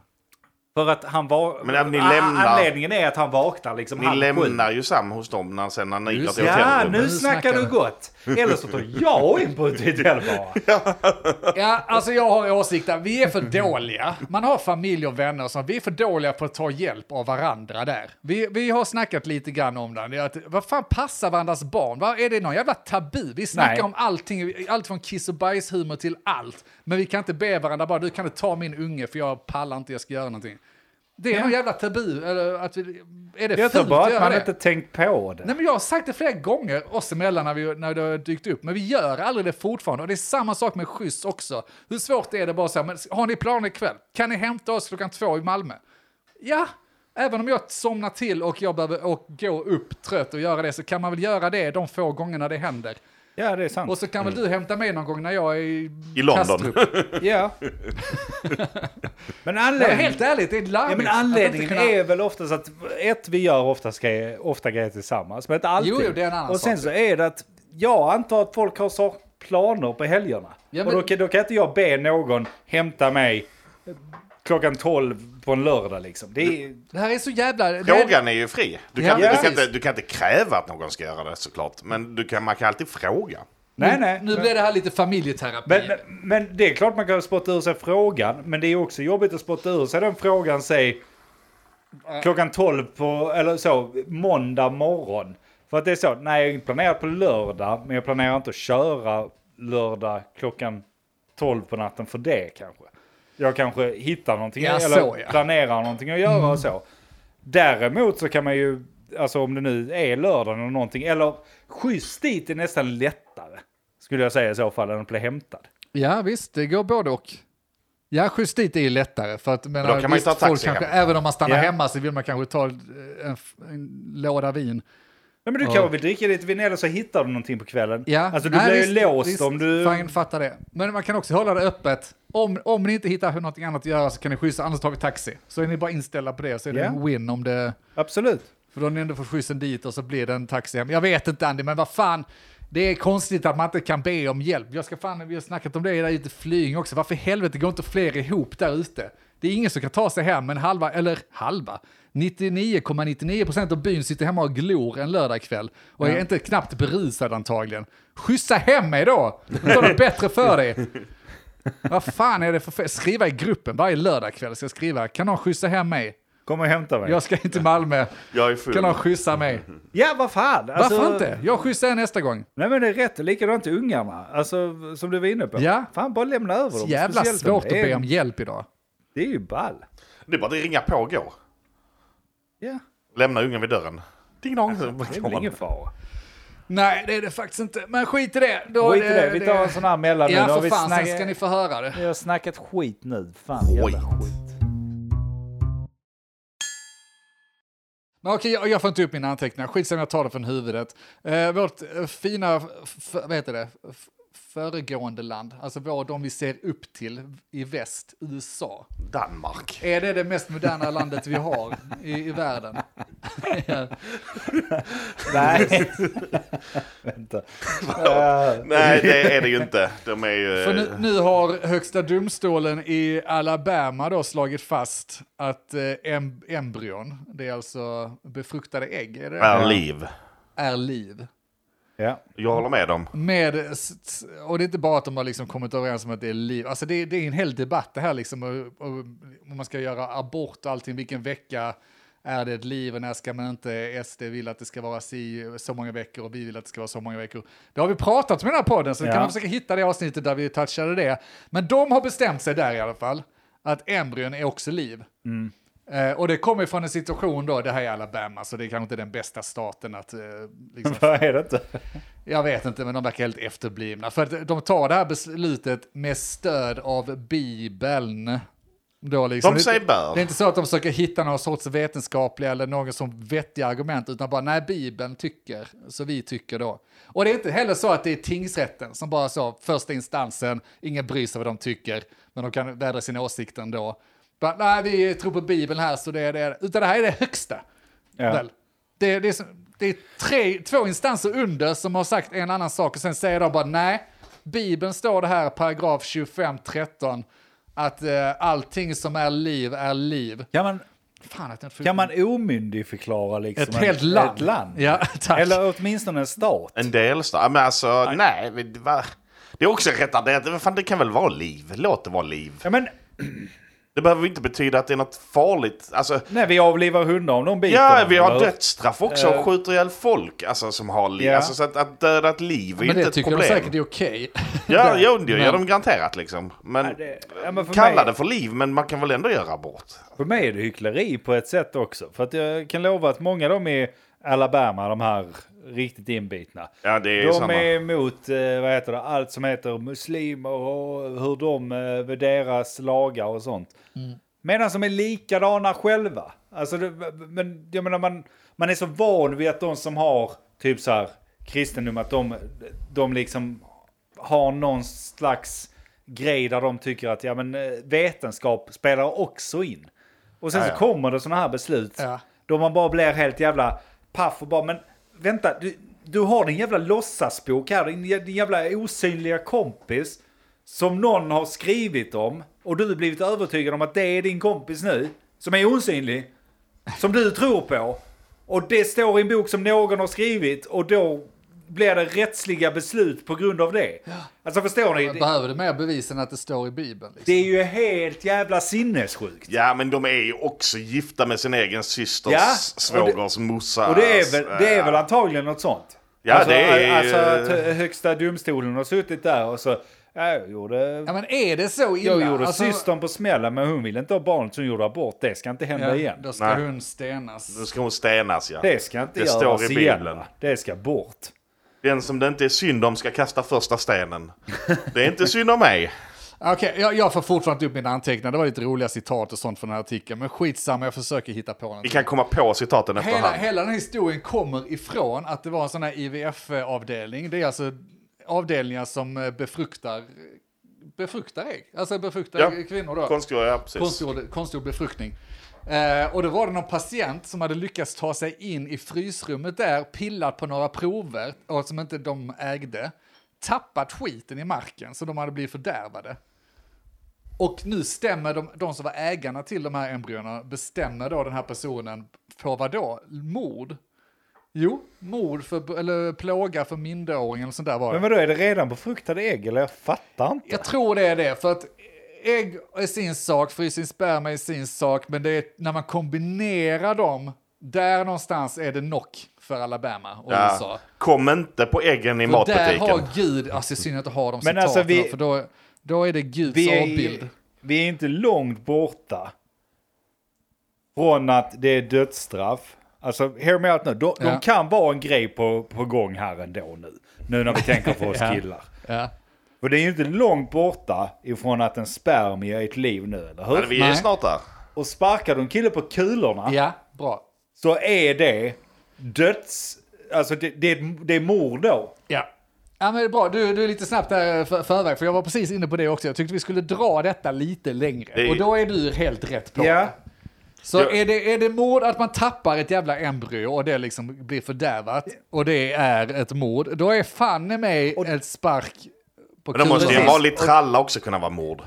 För att han var...
Men även ni
a-
lämnar-
Anledningen är att han vaknar liksom
Ni
halv sju.
lämnar ju Sam hos dem när, sen när ni går
Just
till
det.
Ja,
hotellrummet.
nu snackar du gott. Eller så tar jag in på ett hotell bara.
Ja, alltså jag har åsikter. Vi är för dåliga. Man har familj och vänner och sånt. Vi är för dåliga på att ta hjälp av varandra där. Vi, vi har snackat lite grann om det. det. är Att, vad fan passar varandras barn? Vad Är det någon jävla tabu? Vi snackar
Nej.
om allting, allt från kiss och bajshumor till allt. Men vi kan inte be varandra bara, du kan inte ta min unge för jag pallar inte, jag ska göra någonting. Det är någon jävla tabu, eller att vi, är det
Jag tror
fult
bara
att
att
göra
man
det?
inte tänkt på det.
Nej, men jag har sagt det flera gånger oss emellan när, vi, när det har dykt upp, men vi gör aldrig det fortfarande. Och det är samma sak med skjuts också. Hur svårt är det bara så här, men har ni planer ikväll? Kan ni hämta oss klockan två i Malmö? Ja, även om jag somnar till och jag behöver och gå upp trött och göra det så kan man väl göra det de få gångerna det händer.
Ja, det är sant.
Och så kan väl du hämta mig någon gång när jag är i,
Mm. I London.
Kastrup.
Ja. Men
Nej,
anledningen...
men helt ärligt, det är
Ja,
larvigt.
men anledningen är väl oftast att ett, vi gör ofta, ska, ofta grejer tillsammans, men inte alltid.
Jo, jo, det är en annan
och sen
sak.
så är det att jag antar att folk har så planer på helgerna.
Ja,
Och då,
men-
kan- då kan inte jag be någon hämta mig klockan 12 på en lördag liksom. Det är,
Det här är så jävla... det är-
Frågan är ju fri. Du kan,
Ja,
du, kan
precis.
inte, du kan inte kräva att någon ska göra det såklart. Men du kan, man kan alltid fråga.
nej, nej.
Nu blir det här lite familjeterapi.
Men, men, men det är klart man kan spotta ur sig frågan, men det är också jobbigt att spotta ur sig den frågan, säg klockan 12 på, eller så, måndag morgon. För att det är så, nej jag planerar på lördag, men jag planerar inte att köra lördag klockan 12 på natten för det kanske. Jag kanske hittar någonting,
Ja,
eller
så, ja.
planerar någonting att göra och så. Däremot så kan man ju, alltså om det nu är lördagen eller någonting, eller skjuts dit är nästan lättare. Skulle jag säga i så fall, än att bli hämtad.
Ja visst, det går både och. Ja, skjuts dit är ju lättare. För att, men,
då kan man ju ta taxi
folk kanske,
hem.
Även om man stannar
Ja.
hemma så vill man kanske ta eh, en, f- en låda vin.
Nej, men du kan väl dricka lite vin eller så hittar du någonting på kvällen.
Ja.
Alltså du
Nej,
blir ju
visst,
låst
visst,
om du...
Fine, fattar det. Men man kan också hålla det öppet. Om, om ni inte hittar någonting annat att göra så kan ni skjutsa, annars tar vi taxi. Så är ni bara inställda på det, så är det
Ja.
en win om det...
Absolut.
För då har ni ändå fått skjutsen dit och så blir det en taxi hem. Jag vet inte Andy, men vad fan. Det är konstigt att man inte kan be om hjälp. Jag ska fan, vi har snackat om det där ute i Flyinge också. Varför i helvete går inte fler ihop där ute? Det är ingen som kan ta sig hem, men halva, eller halva, 99,99% av byn sitter hemma och glor en lördagkväll och är inte knappt berusad antagligen. Skjutsa hem mig då! Då är det bättre för dig. Vad fan är det för fel? Skriva i gruppen varje lördagkväll ska jag skriva, kan någon skjutsa hem mig?
Kom och hämta mig.
Jag ska in till Malmö,
Jag är full.
kan någon skjutsa mig?
Ja, vad fan. Alltså,
Varför inte? Jag skjutsar er nästa gång.
Nej, men det är rätt. Likadant ungarna. Alltså, som du var inne på.
Ja.
Fan, bara lämna över dem.
Jävla
Speciellt
svårt att
det är-
be om hjälp idag.
Det är ju ball.
Det är bara att ringa på och gå.
Ja,
Lämna ungen vid dörren. Alltså, Ding dong.
det är väl ingen fara.
Nej, det är det faktiskt inte. Men skit i det. Då
Skit i det. Vi tar en sån här mellan nu.
Ja,
Nu har
för
vi
fan,
snack-
sen ska ni få höra det.
Vi har snackat skit nu. Fan, jävla
Skit.
skit.
Men okej, jag, jag får inte upp mina anteckningar. Skitsamma, jag tar det från huvudet. Eh, vårt eh, fina, f- f- vad heter det, f- föregående land, alltså vår, de vi ser upp till i väst, USA.
Danmark.
Är det det mest moderna landet vi har i, i världen? Ja.
Nej. Vänta. Eh,
Nej, det är det ju inte. De är ju...
För nu, nu har högsta domstolen i Alabama då slagit fast att eh, em, embryon, det är alltså befruktade ägg, är, det,
Är liv.
är liv.
ja.
Jag håller med dem.
Med, s- s- och det är inte bara att de har liksom kommit överens om att det är liv, alltså det, det är en hel debatt det här liksom, och, och, om man ska göra abort och allting, vilken vecka är det ett liv och när ska man inte, SD vill att det ska vara si, så många veckor och vi vill att det ska vara så många veckor. Det har vi pratat om i den här podden, så
Ja.
kan man försöka hitta det avsnittet där vi touchade det. Men de har bestämt sig där i alla fall, att embryon är också liv. Eh, och det kommer från en situation då, det här är Alabama, så det är kanske inte den bästa staten att eh, liksom,
Vad är det inte?
jag vet inte, men de verkar helt efterblivna. För att de tar det här beslutet med stöd av Bibeln. Då liksom,
De säger bör.
Det är inte så att de försöker hitta någon sorts vetenskapliga eller någon som vettiga argument, utan bara nej, Bibeln tycker, så vi tycker då. Och det är inte heller så att det är tingsrätten som bara så, första instansen, ingen bryr sig vad de tycker, men de kan vädra sina åsikter ändå. Bara, nej, vi tror på Bibeln här, så det är det. Utan det här är det högsta.
Ja.
Väl? Det, det, är, som- det är tre, två instanser under som har sagt en annan sak och sen säger de bara nej. Bibeln står det här, paragraf 25.13, att eh, allting som är liv är liv.
Kan man,
Fan att jag inte får-
kan man omyndigförklara liksom
Ett
en-
helt land.
Ett land.
Ja, tack.
Eller åtminstone en stat.
En delstat. Ja, Men alltså, nej. vi- det var- Det är också retarderat. Vad fan, Det kan väl vara liv? Låt det vara liv.
Ja, men,
Det behöver inte betyda att det är något farligt. Alltså,
nej, vi avlivar hundar om de biter.
ja, vi har
varandra.
dödsstraff också och skjuter ihel folk alltså, som har liv.
Eh. Ja.
Alltså, så att, att döda ett liv är
Men
inte
det
ett
tycker
problem.
de säkert är okej.
Ja, jo, det gör
Men-
de garanterat liksom. Men,
det- ja, men för
kalla
mig-
det för liv, men man kan väl ändå göra abort?
För mig är det hyckleri på ett sätt också. För att jag kan lova att många av dem i Alabama, de här riktigt inbitna.
Ja, det är ju
de
samma.
är emot eh, vad heter det, allt som heter muslimer och hur de, eh, deras lagar och sånt. Medan de är likadana själva. Alltså, det, men jag menar man, man är så van vid att de som har typ så här kristendom, att de, de liksom har någon slags grej där de tycker att ja, men, eh, vetenskap spelar också in. Och sen
Ja,
så
ja.
kommer det sådana här beslut
Ja.
då man bara blir helt jävla paff och bara men vänta, du, du har din jävla låtsasbok här, din, jä- din jävla osynliga kompis som någon har skrivit om och du blivit övertygad om att det är din kompis nu, som är osynlig, som du tror på. Och det står i en bok som någon har skrivit och då blir det rättsliga beslut på grund av det. Alltså förstår ni? Det,
Behöver du mer bevis än att det står i Bibeln? Liksom?
det är ju helt jävla sinnessjukt.
Ja, men de är ju också gifta med sin egen systers
Ja, och det-
svågers eh, morsa.
Och det är väl, det är väl antagligen något sånt?
Alltså, Ja,
alltså,
det är ju-
alltså att hö- högsta domstolen har suttit där och så... Ja, jag gjorde...
Ja, men är det så illa?
Jag gjorde
Alltså-
systern på smällen men hon ville inte ha barnet som gjorde abort. Det ska inte hända
Ja,
igen.
Då ska
Nej.
hon stenas.
Nu ska hon stenas, ja.
Det ska inte
Det
göras
står i
igen.
Bibeln.
va? Det ska bort.
Den som det inte är synd om ska kasta första stenen. Det är inte synd om mig.
Okej, jag, jag får fortfarande inte upp mina anteckningar. Det var lite roliga citat och sånt från den här artikeln. Men skitsamma, jag försöker hitta på något.
Vi kan komma på citaten
Hela,
efterhand.
hela den här historien kommer ifrån att det var en sån här IVF-avdelning. Det är alltså avdelningar som eh, befruktar, befruktar ägg. Alltså befruktar
Ja.
kvinnor då.
Konstgjord, ja precis.
Konstgjord, konstgjord befruktning. Eh, och då var det någon patient som hade lyckats ta sig in i frysrummet där, pillat på några prover och som inte de ägde, tappat skiten i marken så de hade blivit fördärvade. Och nu stämmer de, de som var ägarna till de här embryona, bestämmer då den här personen på vad då? Mord? Jo, mord för, eller plåga för minderåring eller sånt där var det.
Men vadå, är det redan befruktade ägg eller? Jag fattar inte.
Jag tror det är det, för att ägg är sin sak, frysning sperma är sin sak, men det är när man kombinerar dem, där någonstans är det knock för Alabama och
Ja.
USA.
Kom inte på äggen i
Och där
matbutiken.
har Gud, alltså det är synd att ha de
Men
citaten,
alltså, vi-
då, för då, då är det Guds
Vi är,
avbild.
vi är inte långt borta från att det är dödsstraff. Alltså, hear me out nu. De,
Ja.
de kan vara en grej på, på gång här ändå nu. Nu när vi tänker på oss killar.
Ja.
För det är ju inte långt borta ifrån att en spermie är ett liv nu, eller
Men
hur?
vi är
Nej.
snart där.
Och sparkar du en kille på kulorna
ja, bra.
så är det döds... Alltså det, det, det är mord då.
Ja. Ja, men det är bra. Du, du är lite snabbt där eh, för, förväg, för jag var precis inne på det också. Jag tyckte vi skulle dra detta lite längre.
Det är-
Och då är du helt rätt på.
Ja.
Så
Jag-
är, det, är det mord att man tappar ett jävla embryo och det liksom blir fördärvat och det är ett mord, då är fan i mig ett spark på
Men då måste ju
kulan.
en vanlig tralla också kunna vara mord.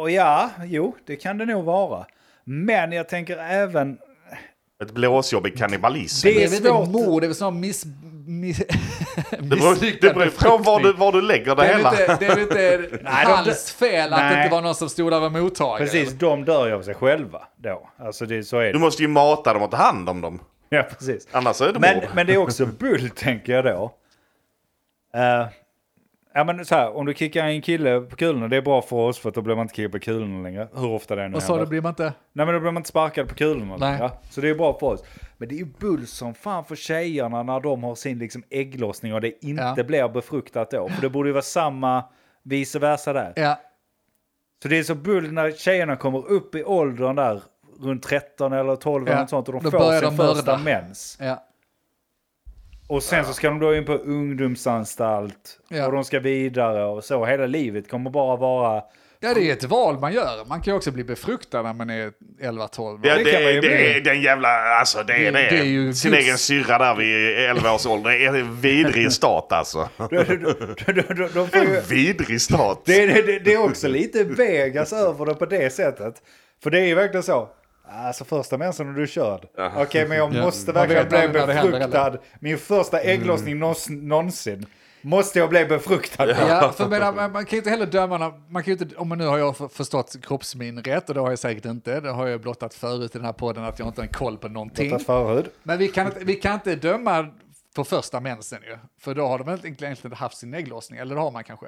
Och ja, jo, det kan det nog vara. Men jag tänker även...
Ett blåsjobb i kannibalism.
Det är väl
svårt.
inte mord, det är väl snarare miss... miss
Det beror, det beror på var du, var du lägger det,
det är väl
hela.
inte, det är väl inte
de-
hans fel att det
Nej.
inte var någon som stod där och var mottagare.
Precis, de dör ju av sig själva då. Alltså det, så är
Du
det.
måste ju mata dem och ta hand om dem.
Ja, precis.
Annars är det
Men,
mord.
men det är också bull, tänker jag då. Eh, ja, men så här, om du kickar en kille på kulorna, det är bra för oss för att då blir man inte kickad på kulorna längre. Hur ofta det nu
Och så det blir man inte...
Nej men då blir man inte sparkad på kulorna.
Nej.
Ja, så det är bra för oss. Men det är ju bull som fan för tjejerna när de har sin liksom ägglossning och det inte
Ja.
blir befruktat då. För det borde ju vara samma vice versa där.
Ja,
Så det är så bull när tjejerna kommer upp i åldern där runt 13 eller 12 eller
Ja.
något sånt och de
Då
får
börjar de
sin första
mörda.
mens.
ja.
Och sen så ska de då in på ungdomsanstalt
Ja.
och de ska vidare och så. Hela livet kommer bara vara...
Ja, det är ett val man gör. Man kan ju också bli befruktad när man är 11-12.
Ja,
det
det,
kan man ju
det,
bli.
är den jävla, alltså det är
Det-
det.
det är ju
Sin
Guds-
egen syrra där vid 11 års ålder. Det är en vidrig stat alltså.
De, de, de, de, de, de får ju...
En vidrig stat.
Det, det, det, det är också lite Vegas över det på det sättet. För det är ju verkligen så. Alltså första mensen när du är körd. Okej, men jag
Ja.
måste
Man
verkligen
vet aldrig
bli
när det händer
befruktad. Min första ägglossning någons- någonsin. Måste jag bli befruktad?
Mm. Ja, för jag menar, man, man kan ju inte heller döma, när- man kan ju inte, om man nu har jag f- förstått kroppsmin rätt, och det har jag säkert inte, det har jag blottat förut i den här podden att jag inte har en koll på någonting.
Att förhud.
Men vi kan, inte- vi kan inte döma på första mensen ju, för då har de väl egentligen inte haft sin ägglossning, eller det har man kanske.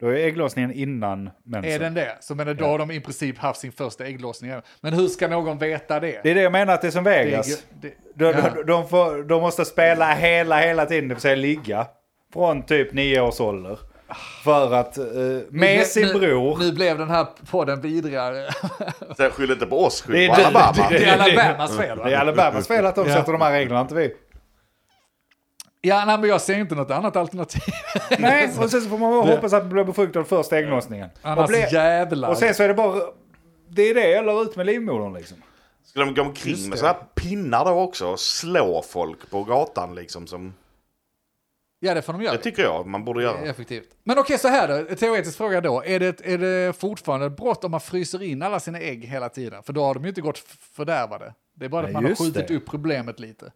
Då är ägglossningen innan
Är
mensen.
den det? Så menar, då har de i princip haft sin första ägglossning. Men hur ska någon veta det?
Det är det jag menar att det är som
Det är ju-
Vegas.
det-
De,
ja.
de, de, får, de måste spela hela, hela tiden, det vill säga ligga. Från typ nio års ålder. För att, eh, med sin
Nu-
bror.
Nu blev den här podden vidrigare.
Så Skyll inte på oss,
Det
skyll
är
på
det-
Alabama.
Det är Alabamas fel va?
Det är Alabamas fel att de
Ja.
sätter de här reglerna, inte vi.
Ja, nej, men jag ser inte något annat alternativ.
Nej, och sen så får man bara hoppas att man blir befruktad första ägglossningen.
Annars
Och blir-
jävlar.
Och sen så är det bara... Det är det, eller ut med livmodern liksom.
Ska de gå omkring med sådana här pinnar då också och slå folk på gatan liksom som...
Ja, det får de göra.
Det tycker jag man borde göra.
Effektivt. Men okej, så här då. Teoretisk fråga då. Är det, är det fortfarande ett brott om man fryser in alla sina ägg hela tiden? För då har de ju inte gått f- fördärvade. Det är bara
Nej,
att man har
just
skjutit
det.
upp problemet lite.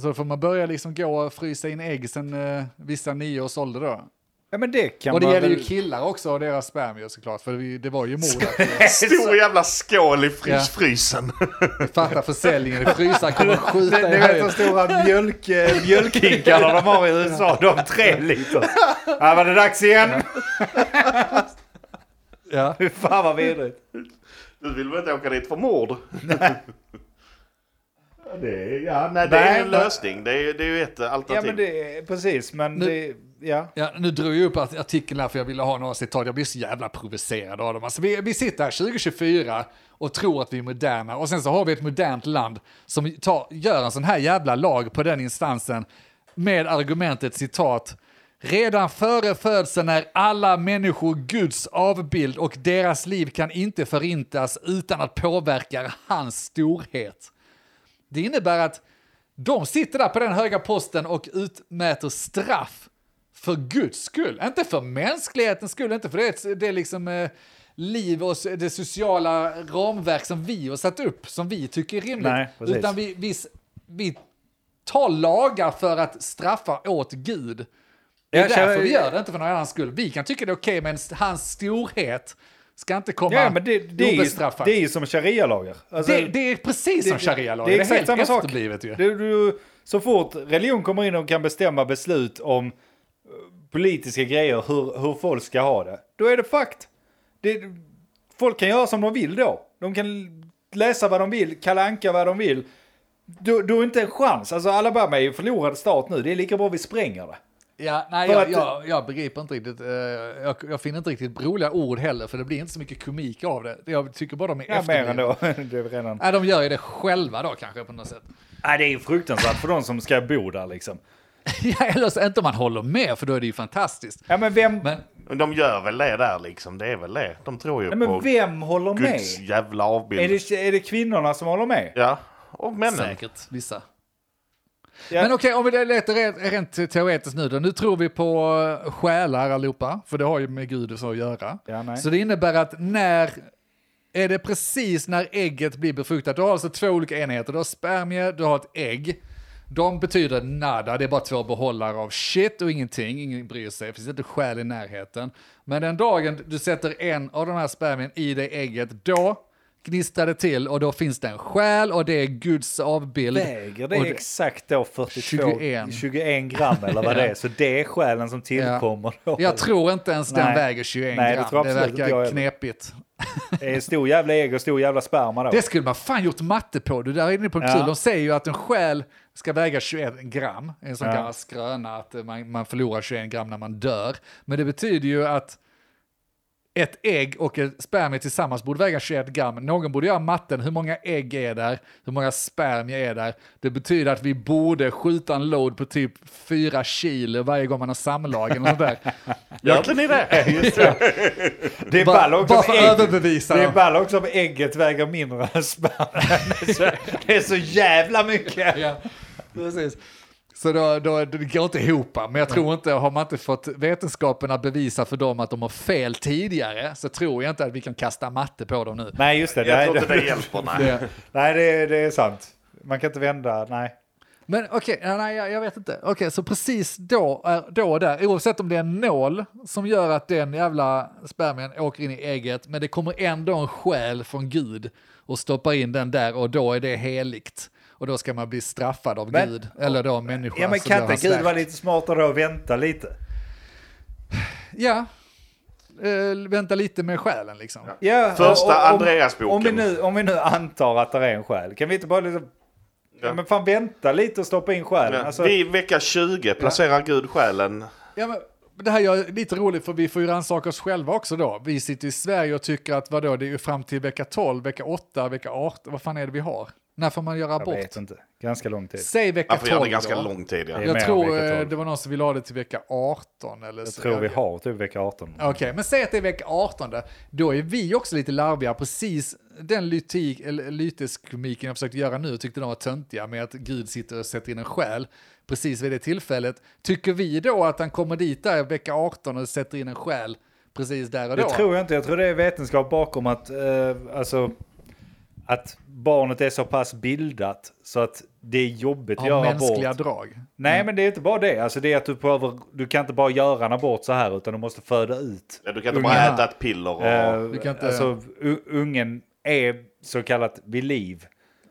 Så då får man börja liksom gå och frysa in ägg sen eh, vissa nio års ålder då.
Ja men det kan
Och det
man
gäller
väl...
ju killar också och deras spermier såklart. För vi- det var ju mord.
Stor jävla skål i
Ja.
frys frysen.
att Fatta försäljningen i frysar kommer att skjuta i
Ni vet de
höjden.
stora mjölk, eh, mjölkhinkarna de har i USA, de tre liter. Här var det dags igen.
Ja.
Fy fan vad vidrigt.
Du vill väl inte åka dit för mord? Det är, ja, nej, det
Nej,
är en
men-
lösning. Det är, det är ju ett alternativ.
Ja men det är precis, men
Typ. Nu-
det... Ja.
Ja, nu drog jag upp art- artikeln här för jag ville ha några citat. Jag blir så jävla provocerad av dem. Alltså, vi, vi sitter här 2024 och tror att vi är moderna och sen så har vi ett modernt land som tar, gör en sån här jävla lag på den instansen med argumentet citat. Redan före födseln är alla människor Guds avbild och deras liv kan inte förintas utan att påverka hans storhet. Det innebär att de sitter där på den höga posten och utmäter straff för Guds skull. Inte för mänsklighetens skull, inte för det, det är liksom eh, liv och s- det sociala ramverk som vi har satt upp, som vi tycker är rimligt.
Nej, precis.
Utan vi, vi, s- vi tar lagar för att straffa åt Gud. Det är
Jag
därför
känner-
vi gör det, inte för någon annans skull. Vi kan tycka det är okej, men hans storhet ska inte komma
Ja, men det, det, är, ju-
obestraffad.
det är ju som sharia-lagar. Alltså,
Det, det är precis som sharia-lagen. Det, är helt efterblivet ju.
Du, du, så fort religion kommer in och kan bestämma beslut om eh, politiska grejer, hur, hur folk ska ha det, då är det fakt. Det, folk kan göra som de vill då. De kan läsa vad de vill, kalanka vad de vill. Du, du har inte en chans. Alltså Alabama är ju förlorad stat nu. Det är lika bra vi spränger det.
Ja, nej,
För
jag,
att-
jag, jag begriper inte riktigt. eh, jag, jag finner inte riktigt roliga ord heller, för det blir inte så mycket komik av det. Jag tycker bara de är
Ja, mer än
efterblivna.
då. Det är redan...
Nej, de gör ju det själva då kanske på något sätt.
Nej, det är ju fruktansvärt för de som ska bo där liksom.
Ja, eller så inte om man håller med, för då är det ju fantastiskt.
Ja, men vem,
Men
Men De gör väl det där liksom. Det är väl det. De tror ju
nej,
på
men vem håller med?
Guds jävla avbild.
Är det, är det kvinnorna som håller med?
Ja, och männen.
säkert vissa.
Ja.
Men okej, om vi letar rent, rent teoretiskt nu då. Nu tror vi på eh, själar allihopa, för det har ju med Gud och så att göra.
Ja, nej.
så det innebär att när, är det precis när ägget blir befruktat, du har alltså två olika enheter, du har spermier, du har ett ägg. De betyder nada, det är bara två behållare av shit och ingenting, ingen bryr sig, det finns inte själ i närheten. Men den dagen du sätter en av de här spermien i det ägget, då gnistrar det till och då finns det en själ och det är Guds avbild.
Väger det
Och
är exakt då 42,
21.
21, gram eller vad det är. Så det är själen som tillkommer då.
Jag tror inte ens den
Nej.
väger 21
Nej, det
gram.
tror
Det,
jag absolut inte jag
verkar
heller.
knepigt.
Det är stor jävla ägg och stor jävla sperma då.
Det skulle man fan gjort matte på. Du där är inne på en
Ja.
kul. De säger ju att en själ ska väga 21 gram. En sån
Ja.
gammal skröna att eh, man, man förlorar 21 gram när man dör. Men det betyder ju att ett ägg och ett spermie tillsammans borde väga 21 gram. Någon borde göra matten. Hur många ägg är där? Hur många spermier är där? Det betyder att vi borde skjuta en load på typ 4 kilo varje gång man har samlag eller något där.
Egentligen är det.
Det är
Bara-
ball också
bara
om
för att
ägg-
överbevisa
Det är
dem.
ball också om ägget väger mindre än sperman. Det är så- Det är så jävla mycket.
Ja, precis. Så då, då, det går inte ihop, men jag tror inte, har man inte fått vetenskapen att bevisa för dem att de har fel tidigare, så tror jag inte att vi kan kasta matte på dem nu.
Nej just det.
Jag
nej,
tror
det,
inte det hjälper. Nej.
Det,
nej det, är- det är sant. Man kan inte vända. Nej.
men okej, ja, nej, jag, jag vet inte. Okej, så precis då, är- då och där, oavsett om det är en nål som gör att den jävla spermien åker in i ägget, men det kommer ändå en själ från Gud och stoppar in den där och då är det heligt. Och då ska man bli straffad av
Men-
Gud, eller då människan
Ja men
som gör
kan inte
hans
Gud
verk.
vara lite smartare och vänta lite?
Ja. Eh, vänta lite med själen liksom.
Ja,
Första
och- och- om-
Andreasboken.
Om vi, nu, om vi nu antar att det är en själ, kan vi inte bara liksom... Ja.
Ja.
men fan vänta lite och stoppa in själen. Alltså,
Vi i vecka 20 placerar Gud själen.
Ja, men det här är lite roligt för vi får ju rannsaka oss själva också då. Vi sitter i Sverige och tycker att vadå, det är ju fram till vecka 12, vecka 8, vecka 18, vad fan är det vi har? När får man göra
Jag
abort?
vet inte. Ganska lång tid.
Säg vecka
Man får
12
göra det ganska
då.
lång tid. Ja.
Ja.
Jag
Mer
tror
vecka
eh,
12.
det var någon som ville ha det till vecka 18 eller
Jag tror vi har typ vecka 18.
Okej, men säg att det är vecka 18. Då är vi också lite larviga. Precis den lytik, eller lyteskumiken jag försökte göra nu tyckte de var töntiga med att Gud sitter och sätter in en själ precis vid det tillfället. Tycker vi då att han kommer dit där i vecka 18 och sätter in en själ precis där och då?
Det tror jag inte. Jag tror det är vetenskap bakom att, eh, alltså, att barnet är så pass bildat så att det är jobbigt att
Har
göra
mänskliga
abort.
drag.
Nej, men det är inte bara det. Alltså, det är att du, behöver, du kan inte bara göra en abort så här utan du måste föda ut.
Ja, Du kan inte bara
Unga.
äta ett piller och...
Eh,
Du kan inte-
Alltså, u- ungen är så kallat vid liv.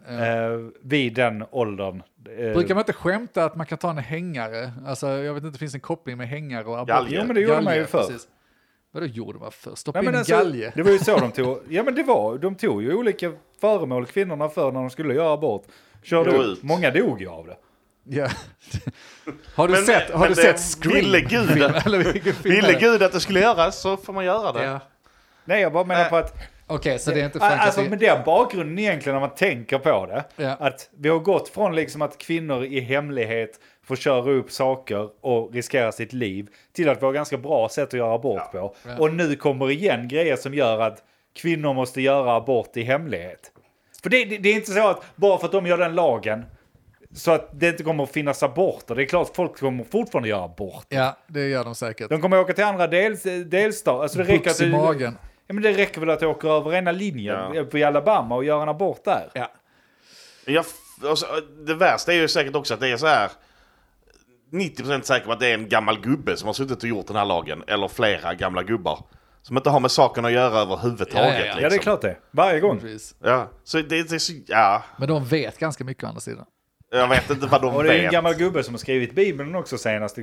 Eh, vid den åldern. Eh,
Brukar man inte skämta att man kan ta en hängare? Alltså, jag vet inte, det finns en koppling med hängare och abort.
Galge.
Jo, men det gjorde man ju förr.
precis. Vadå gjorde man förr? Stoppa in
Nej, men
en
alltså,
galge?
det var ju så de tog. Ja men det var, de tog ju olika föremål kvinnorna för när de skulle göra abort. Körde
Gå
ut.
ut.
Många dog ju av det.
Ja. Har du
Men-
sett, har
men
du
det
sett Scream?
ville Gud.
Film- eller vilken film är
Ville
det?
Gud att det skulle göras så får man göra det.
Ja.
Nej jag bara menar
Nej.
på att
Okej, så det är inte fantasy?
Alltså med den bakgrunden egentligen när man tänker på det.
Ja.
Att vi har gått från liksom att kvinnor i hemlighet får köra upp saker och riskera sitt liv. Till att vi har ganska bra sätt att göra abort på. Och nu kommer igen grejer som gör att kvinnor måste göra abort i hemlighet. För det, det, det är inte så att bara för att de gör den lagen. Så att det inte kommer att finnas aborter. Det är klart folk kommer fortfarande göra abort.
Ja, det gör de säkert.
De kommer åka till andra dels, delstater. Alltså det räcker att
Pucks i
du-
magen.
Ja, men det räcker väl att jag åker över ena linjen
Ja.
på i Alabama och gör en abort där.
Ja.
Men Jag, alltså, det värsta är ju säkert också att det är så här... 90% säker på att det är en gammal gubbe som har suttit och gjort den här lagen. Eller flera gamla gubbar. Som inte har med saken att göra överhuvudtaget.
Ja, ja, ja.
Ja, det är
liksom.
klart det. Varje gång.
Precis.
Ja, så det, det är så... Ja,
Men de vet ganska mycket å andra sidan.
jag vet inte vad de
Och det är en
vet.
gammal gubbe som har skrivit Bibeln också senast.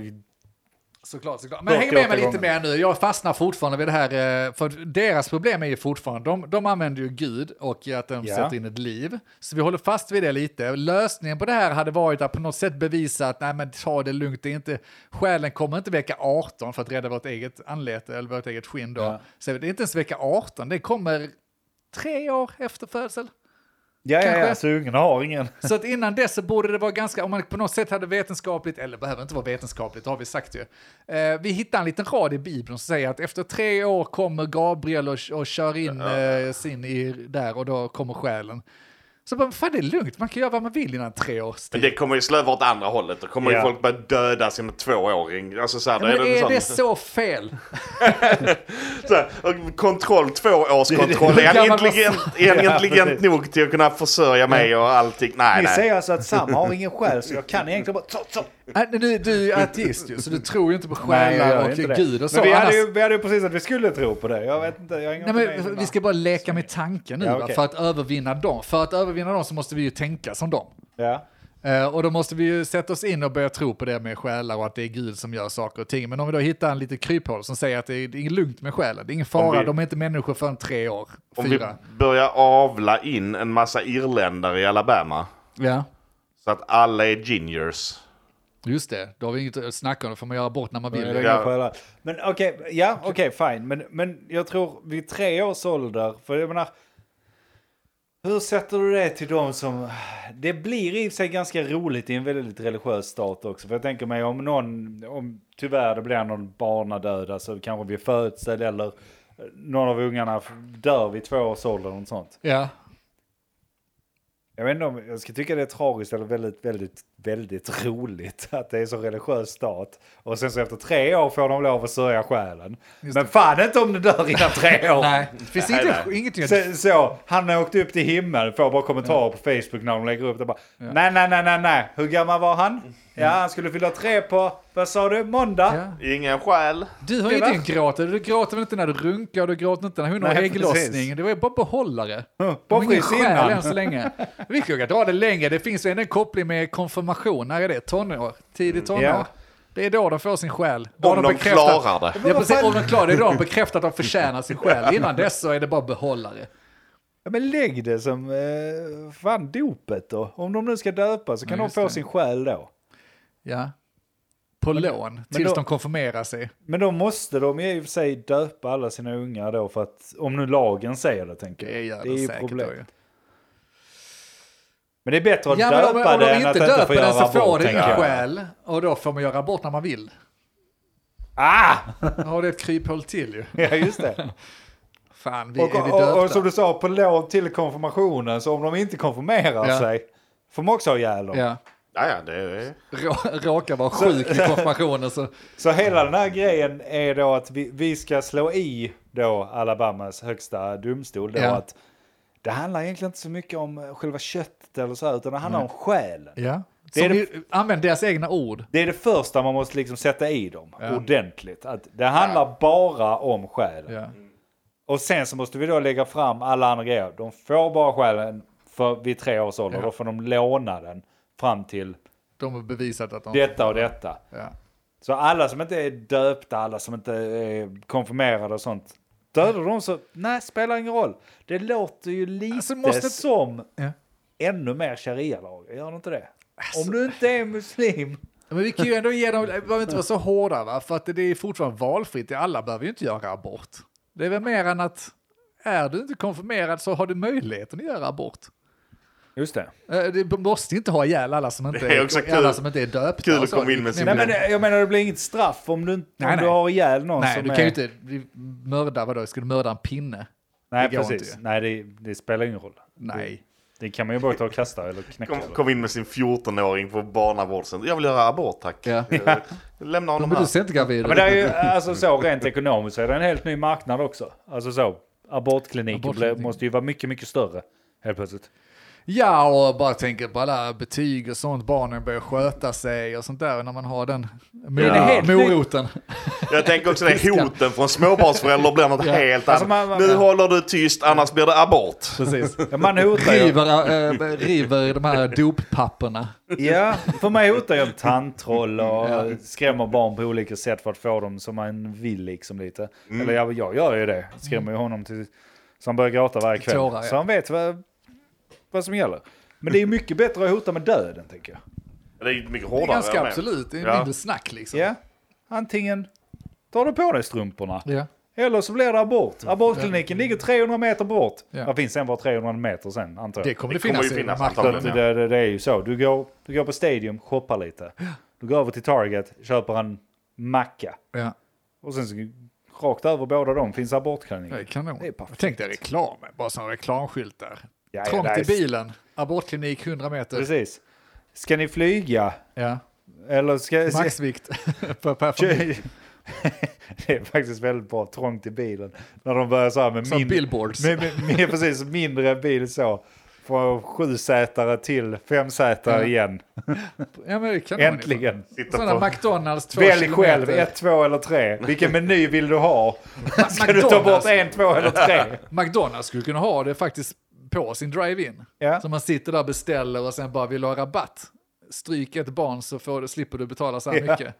Såklart, såklart. Men
Dock
häng med mig lite
återgången.
mer nu. Jag fastnar fortfarande vid det här. eh, För deras problem är ju fortfarande, de, de använder ju Gud och att de
Ja.
sätter in ett liv. Så vi håller fast vid det lite. Lösningen på det här hade varit att på något sätt bevisa att nej men ta det lugnt, det är inte, själen kommer inte vecka 18 för att rädda vårt eget anlete eller vårt eget skinn då.
Ja.
Så det är inte ens vecka 18, det kommer tre år efter födsel.
Ja, ja,
Kanske.
ja, så ungen har ingen.
Så att innan dess så borde det vara ganska, om man på något sätt hade vetenskapligt, eller behöver inte vara vetenskapligt, det har vi sagt ju. Eh, vi hittar en liten rad i Bibeln som säger att efter tre år kommer Gabriel och, och kör in eh, sin i, där och då kommer själen. Så bara, fan det är lugnt, man kan göra vad man vill innan tre års
Men
tid.
det kommer ju slöva åt andra hållet. Då kommer
Ja.
ju folk börja döda sin tvååring. Alltså så här,
Ja,
då är
men
det,
är
sån,
det så fel?
så här, och kontroll, tvåårskontroll.
Det är
Är
det
han
gammal-
intelligent, är han
Ja,
intelligent
precis.
nog till att kunna försörja mig och allting? Nej,
Ni
nej.
säger alltså att Sam har ingen själ så jag kan egentligen bara... Så, så.
Äh, du, du är ju ateist ju, så du tror ju inte på
Nej, jag
själar
gör
och
inte det.
Gud och så.
Men vi,
annars-
hade ju, vi hade ju precis att vi skulle tro på det. Jag vet inte, jag har ingen
Nej, men
opinion.
vi ska bara leka med tanken nu,
Ja,
va?
okej.
för att övervinna dem. För att övervinna dem så måste vi ju tänka som dem.
Ja.
Eh, Och då måste vi ju sätta oss in och börja tro på det med själar och att det är Gud som gör saker och ting. Men om vi då hittar en litet kryphål som säger att det är, det är lugnt med själen, det är ingen fara,
vi-
de är inte människor förrän tre år,
Om vi
fyra.
börjar avla in en massa irländare i Alabama.
Ja,
Så att alla är gingers.
just det. Då har vi inget att snacka om, då får man göra abort när man
Men
vill.
det är
Ja.
inga skäl alls. Men okej, ja okej fine. Men, men jag tror vid tre års ålder, för jag menar. Hur sätter du det till de som... Det blir i och för sig ganska roligt i en väldigt religiös stat också. För jag tänker mig om någon, om tyvärr det blir någon barnadöd, alltså kanske vid födsel eller någon av ungarna dör vid två års ålder eller något sånt.
Ja,
Jag vet inte om jag ska tycka det är tragiskt eller väldigt, väldigt, väldigt roligt att det är så religiös stat. Och sen så efter tre år får de lov att sörja själen. Men fan inte om du dör innan tre år.
nej, det finns
Nej,
inte, ingenting att...
Så, så, han åkte upp till himlen, får bara kommentarer på Facebook när de lägger upp det. Bara, Nej, nej, nej, nej, nej. Hur gammal var han? Ja, han skulle fylla tre på, vad sa du, måndag?
Mm. Ja.
Ingen själ.
Du har
Det var-
ingenting att gråta, du gråter väl inte när du runkar, du gråter inte när hon har
Nej,
ägglossning.
precis.
Det var ju bara behållare. De
bara
har ingen
frys
själ alltså.
innan.
än så länge. Vi kan dra det längre, det finns ju en koppling med konfirmation, när är det? Tonår? Tidigt tonår?
Ja.
Det är då de får sin själ. Då har
Om de
bekräftat-
klarar det.
Ja, precis, om de klarar det, är då har de bekräftat att de förtjänar sin själ. Innan dess så är det bara behållare.
Ja, men lägg det som eh, fan dopet då. Om de nu ska döpa så kan
Ja,
de
just
få
det.
sin själ då.
Ja. På lån, tills
då-
de konfirmerar sig.
Men då måste de ju i och för sig döpa alla sina ungar då för att om nu lagen säger det tänker jag.
Det gör
är
de
ju
säkert då ju.
Men det är bättre att
Ja, men om,
döpa
om de
den än att
inte
inte få
döper den
göra
så får
abort,
det
tänker
ingen
jag.
skäl. Och då får man göra abort när man vill.
Ah!
Ja, det är ett kryphål till ju.
Ja, just det.
Fan, vi
Och,
är vi
och, och
döpta.
som du sa, på lov till konfirmationen, så om de inte konfirmerar
Ja.
sig får man också ha ihjäl dem.
Ja.
Ja, ja, det är...
Rå- Råkar vara sjuk i konfirmationen så...
Så hela den här grejen är då att vi, vi ska slå i då Alabamas högsta domstol då
Ja.
att det handlar egentligen inte så mycket om själva köttet eller så här, utan det handlar om själen.
Ja.
Det är
Som
det-
ju, använd deras egna ord.
Det är det första man måste liksom sätta i dem
Ja.
ordentligt. Att det handlar bara om själen.
Ja.
Och sen så måste vi då lägga fram alla andra grejer. De får bara själen för, vid tre års ålder.
Ja.
Då får de låna den fram till
De har bevisat att de...
detta och detta.
Ja.
Så alla som inte är döpta, alla som inte är konfirmerade och sånt. Dödar de så, nej spelar ingen roll. Det låter ju lite
Alltså, måste-
som
Ja.
ännu mer sharia-lag, gör det inte det?
Alltså-
Om du inte är muslim.
Men vi kan ju ändå ge dem, vi behöver inte vara så hårda va, för att det är fortfarande valfritt. Alla behöver ju inte göra abort. Det är väl mer än att är du inte konfirmerad så har du möjligheten att göra abort.
Just det.
Eh, Du måste inte ha ihjäl alla som inte
Det är
är,
också kul.
alla som inte är döpta.
Kul
och
att
så.
komma in med sin-
Nej
Nej,
men eh, jag menar det blir inget straff om du, inte-
Nej,
om du
nej.
har ihjäl någon
nej
som
du
är...
kan ju inte bli- mörda, vadå, ska du mörda en pinne?
Nej
det går
precis,
inte.
nej det, det spelar ingen roll.
Nej.
Det kan man ju bara ta och kasta eller knäcka.
Kom,
eller-
kom in med sin 14-åring på barnavårdscentrum. Jag vill göra abort tack.
Ja.
Eh, Lämna honom
Men du
här.
ser inte gravid
Ja, Men det är ju, alltså så rent ekonomiskt så är det en helt ny marknad också. Alltså så, abortkliniker
Abortkliniker.
blir- måste ju vara mycket, mycket större helt plötsligt.
Ja, och bara tänker på alla betyg och sånt, barnen börjar sköta sig och sånt där när man har den mor-
det är helt nytt.
moroten.
Jag tänker också det, hoten från småbarnsföräldrar blir något helt
Alltså,
annat.
man- man-
nu
man-
håller du tyst, annars blir det abort.
Precis.
Ja, man hotar ju.
River, äh, river de här doppapperna.
Ja, för man hotar ju en tantroll och skrämmer barn på olika sätt för att få dem som man vill liksom lite.
Mm.
Eller jag, jag gör ju det, skrämmer ju honom till, så han börjar gråta varje kväll.
Tårar, ja.
Så han vet vad, vad som gäller. Men det är mycket bättre att hota med döden tänker jag.
Det är ju mycket
Det är
hårdare.
ganska
jag med.
absolut, det är
Ja.
mindre snack liksom.
Ja, antingen tar du på dig strumporna.
Ja.
Eller så blir det abort. Abortkliniken ligger 300 meter bort.
Mm. Ja.
Det finns en var 300 meter sen, antar jag.
Det
Det,
kommer det,
Det kommer
finnas,
ju finnas
i marknaden.
antagligen.
det, det, det är ju så. Du går, du går på Stadium, shoppar lite. Du går över till Target, köper en macka.
Ja.
Och sen så, rakt över båda dem finns abortkliniken.
Det är kanon.
Det är perfekt.
Tänk dig reklamen, bara sådana reklamskyltar.
Ja, ja,
Trångt
det är-
i bilen, abortklinik 100 meter.
Precis. Ska ni flyga?
Ja.
Eller ska... ska
Maxvikt per, per familj.
Kö- Det är faktiskt väldigt bra trångt i bilen. När de börjar så här med
Som
mindre...
billboards.
Med, med, med, precis, mindre bil så. Från sjusätare till femsätare
Ja.
igen.
Ja, men det är kanon.
Äntligen.
Sitta
Sådana
på.
McDonalds två
Välj
kilometer.
själv, ett, två eller tre. Vilken meny vill du ha? Ska du ta bort
McDonald's.
en, två eller tre?
McDonalds skulle kunna ha det faktiskt på sin drive-in.
Ja.
Så man sitter där och beställer och sen bara vill ha rabatt. Stryk ett barn så får du, slipper du betala så här
Ja.
mycket.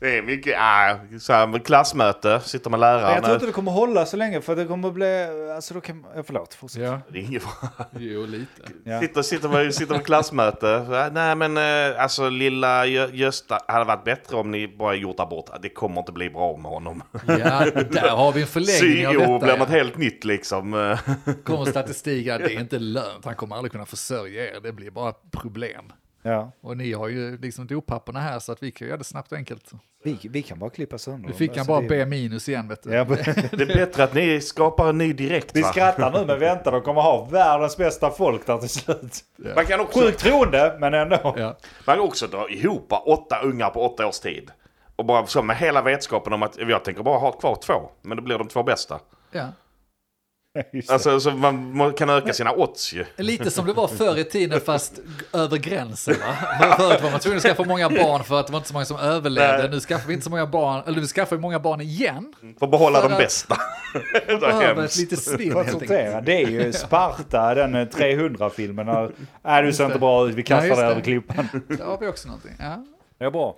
Det är mycket, ah, så här, med klassmöte, sitter med
Jag tror
läraren.
inte det kommer hålla så länge för det kommer bli... Alltså då kan... eh, Förlåt, fortsätt.
Ja,
Det är inget bra.
jo lite.
Ja.
Sitter, sitter, med, sitter med klassmöte. Så här, Nej men eh, alltså lilla Gö- Gösta, hade varit bättre om ni bara gjort abort. Det kommer inte bli bra med honom.
Ja, där har vi en förlängning av
E
Syo
detta.
blir något
Ja.
helt nytt liksom. eh.
Kommer statistik att det är inte lönt, han kommer aldrig kunna försörja er, det blir bara problem.
Ja.
Och ni har ju liksom doppapperna här så att vi kan göra det snabbt och enkelt.
Vi, vi kan bara klippa sönder
Nu
dem.
fick han
Alltså,
bara
det-
B minus igen vet du.
Ja, men-
Det är bättre att ni skapar en ny direkt
Vi
va?
skrattar nu men vänta, de kommer ha världens bästa folk där till slut.
Man kan också,
Sjukt troende, men ändå.
Ja.
man kan också dra ihop åtta ungar på åtta års tid. Och bara så med hela vetskapen om att jag tänker bara ha kvar två. Men det blir de två bästa.
Ja.
Just det.
Alltså så man man kan öka sina odds ju.
Lite som det var förr i tiden fast över gränsen va? Förut var man tvungen att skaffa många barn för att det var inte så många som överlevde.
Nej.
Nu skaffar vi inte så många barn, eller vi skaffar ju många barn igen.
För att behålla
För
de
att-
bästa. Det var
Behöver ett
hemskt.
litet svinn
För att
helt enkelt.
sortera. Det är ju Sparta, den eh, 300-filmen. När, Nej, du ser inte bra ut. Vi
Nej,
kastar
just
dig
det.
över klippan.
Där har vi också någonting. Ja.
Det är bra.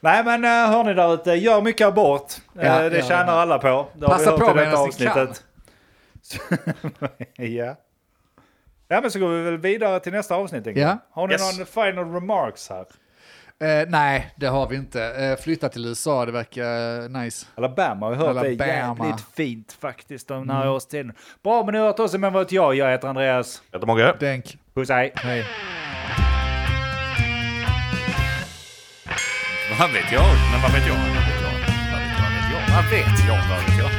Nej, men eh, hör ni där ute, gör mycket abort.
Ja,
Eh, det
ja,
tjänar
ja.
alla på. Det har
Passa
vi hört
på
i detta
medan ni kan.
avsnittet. ja. ja, men så går vi väl vidare till nästa avsnitt. tänker jag.
Ja.
Har ni
Yes.
någon final remarks här?
Eh, nej, det har vi inte. Eh, flytta till USA, det verkar eh, nice.
Alabama har jag hört det är
Alabama.
jävligt
Mm.
fint faktiskt de här årstiden. Bra, men nu har hört oss. Men vad vet jag? Jag heter Andreas.
Jag heter Mogge.
Denk.
Puss hej!
Hej.
Vad vet jag? Men vad vet jag? Vad vet jag? Vad vet jag?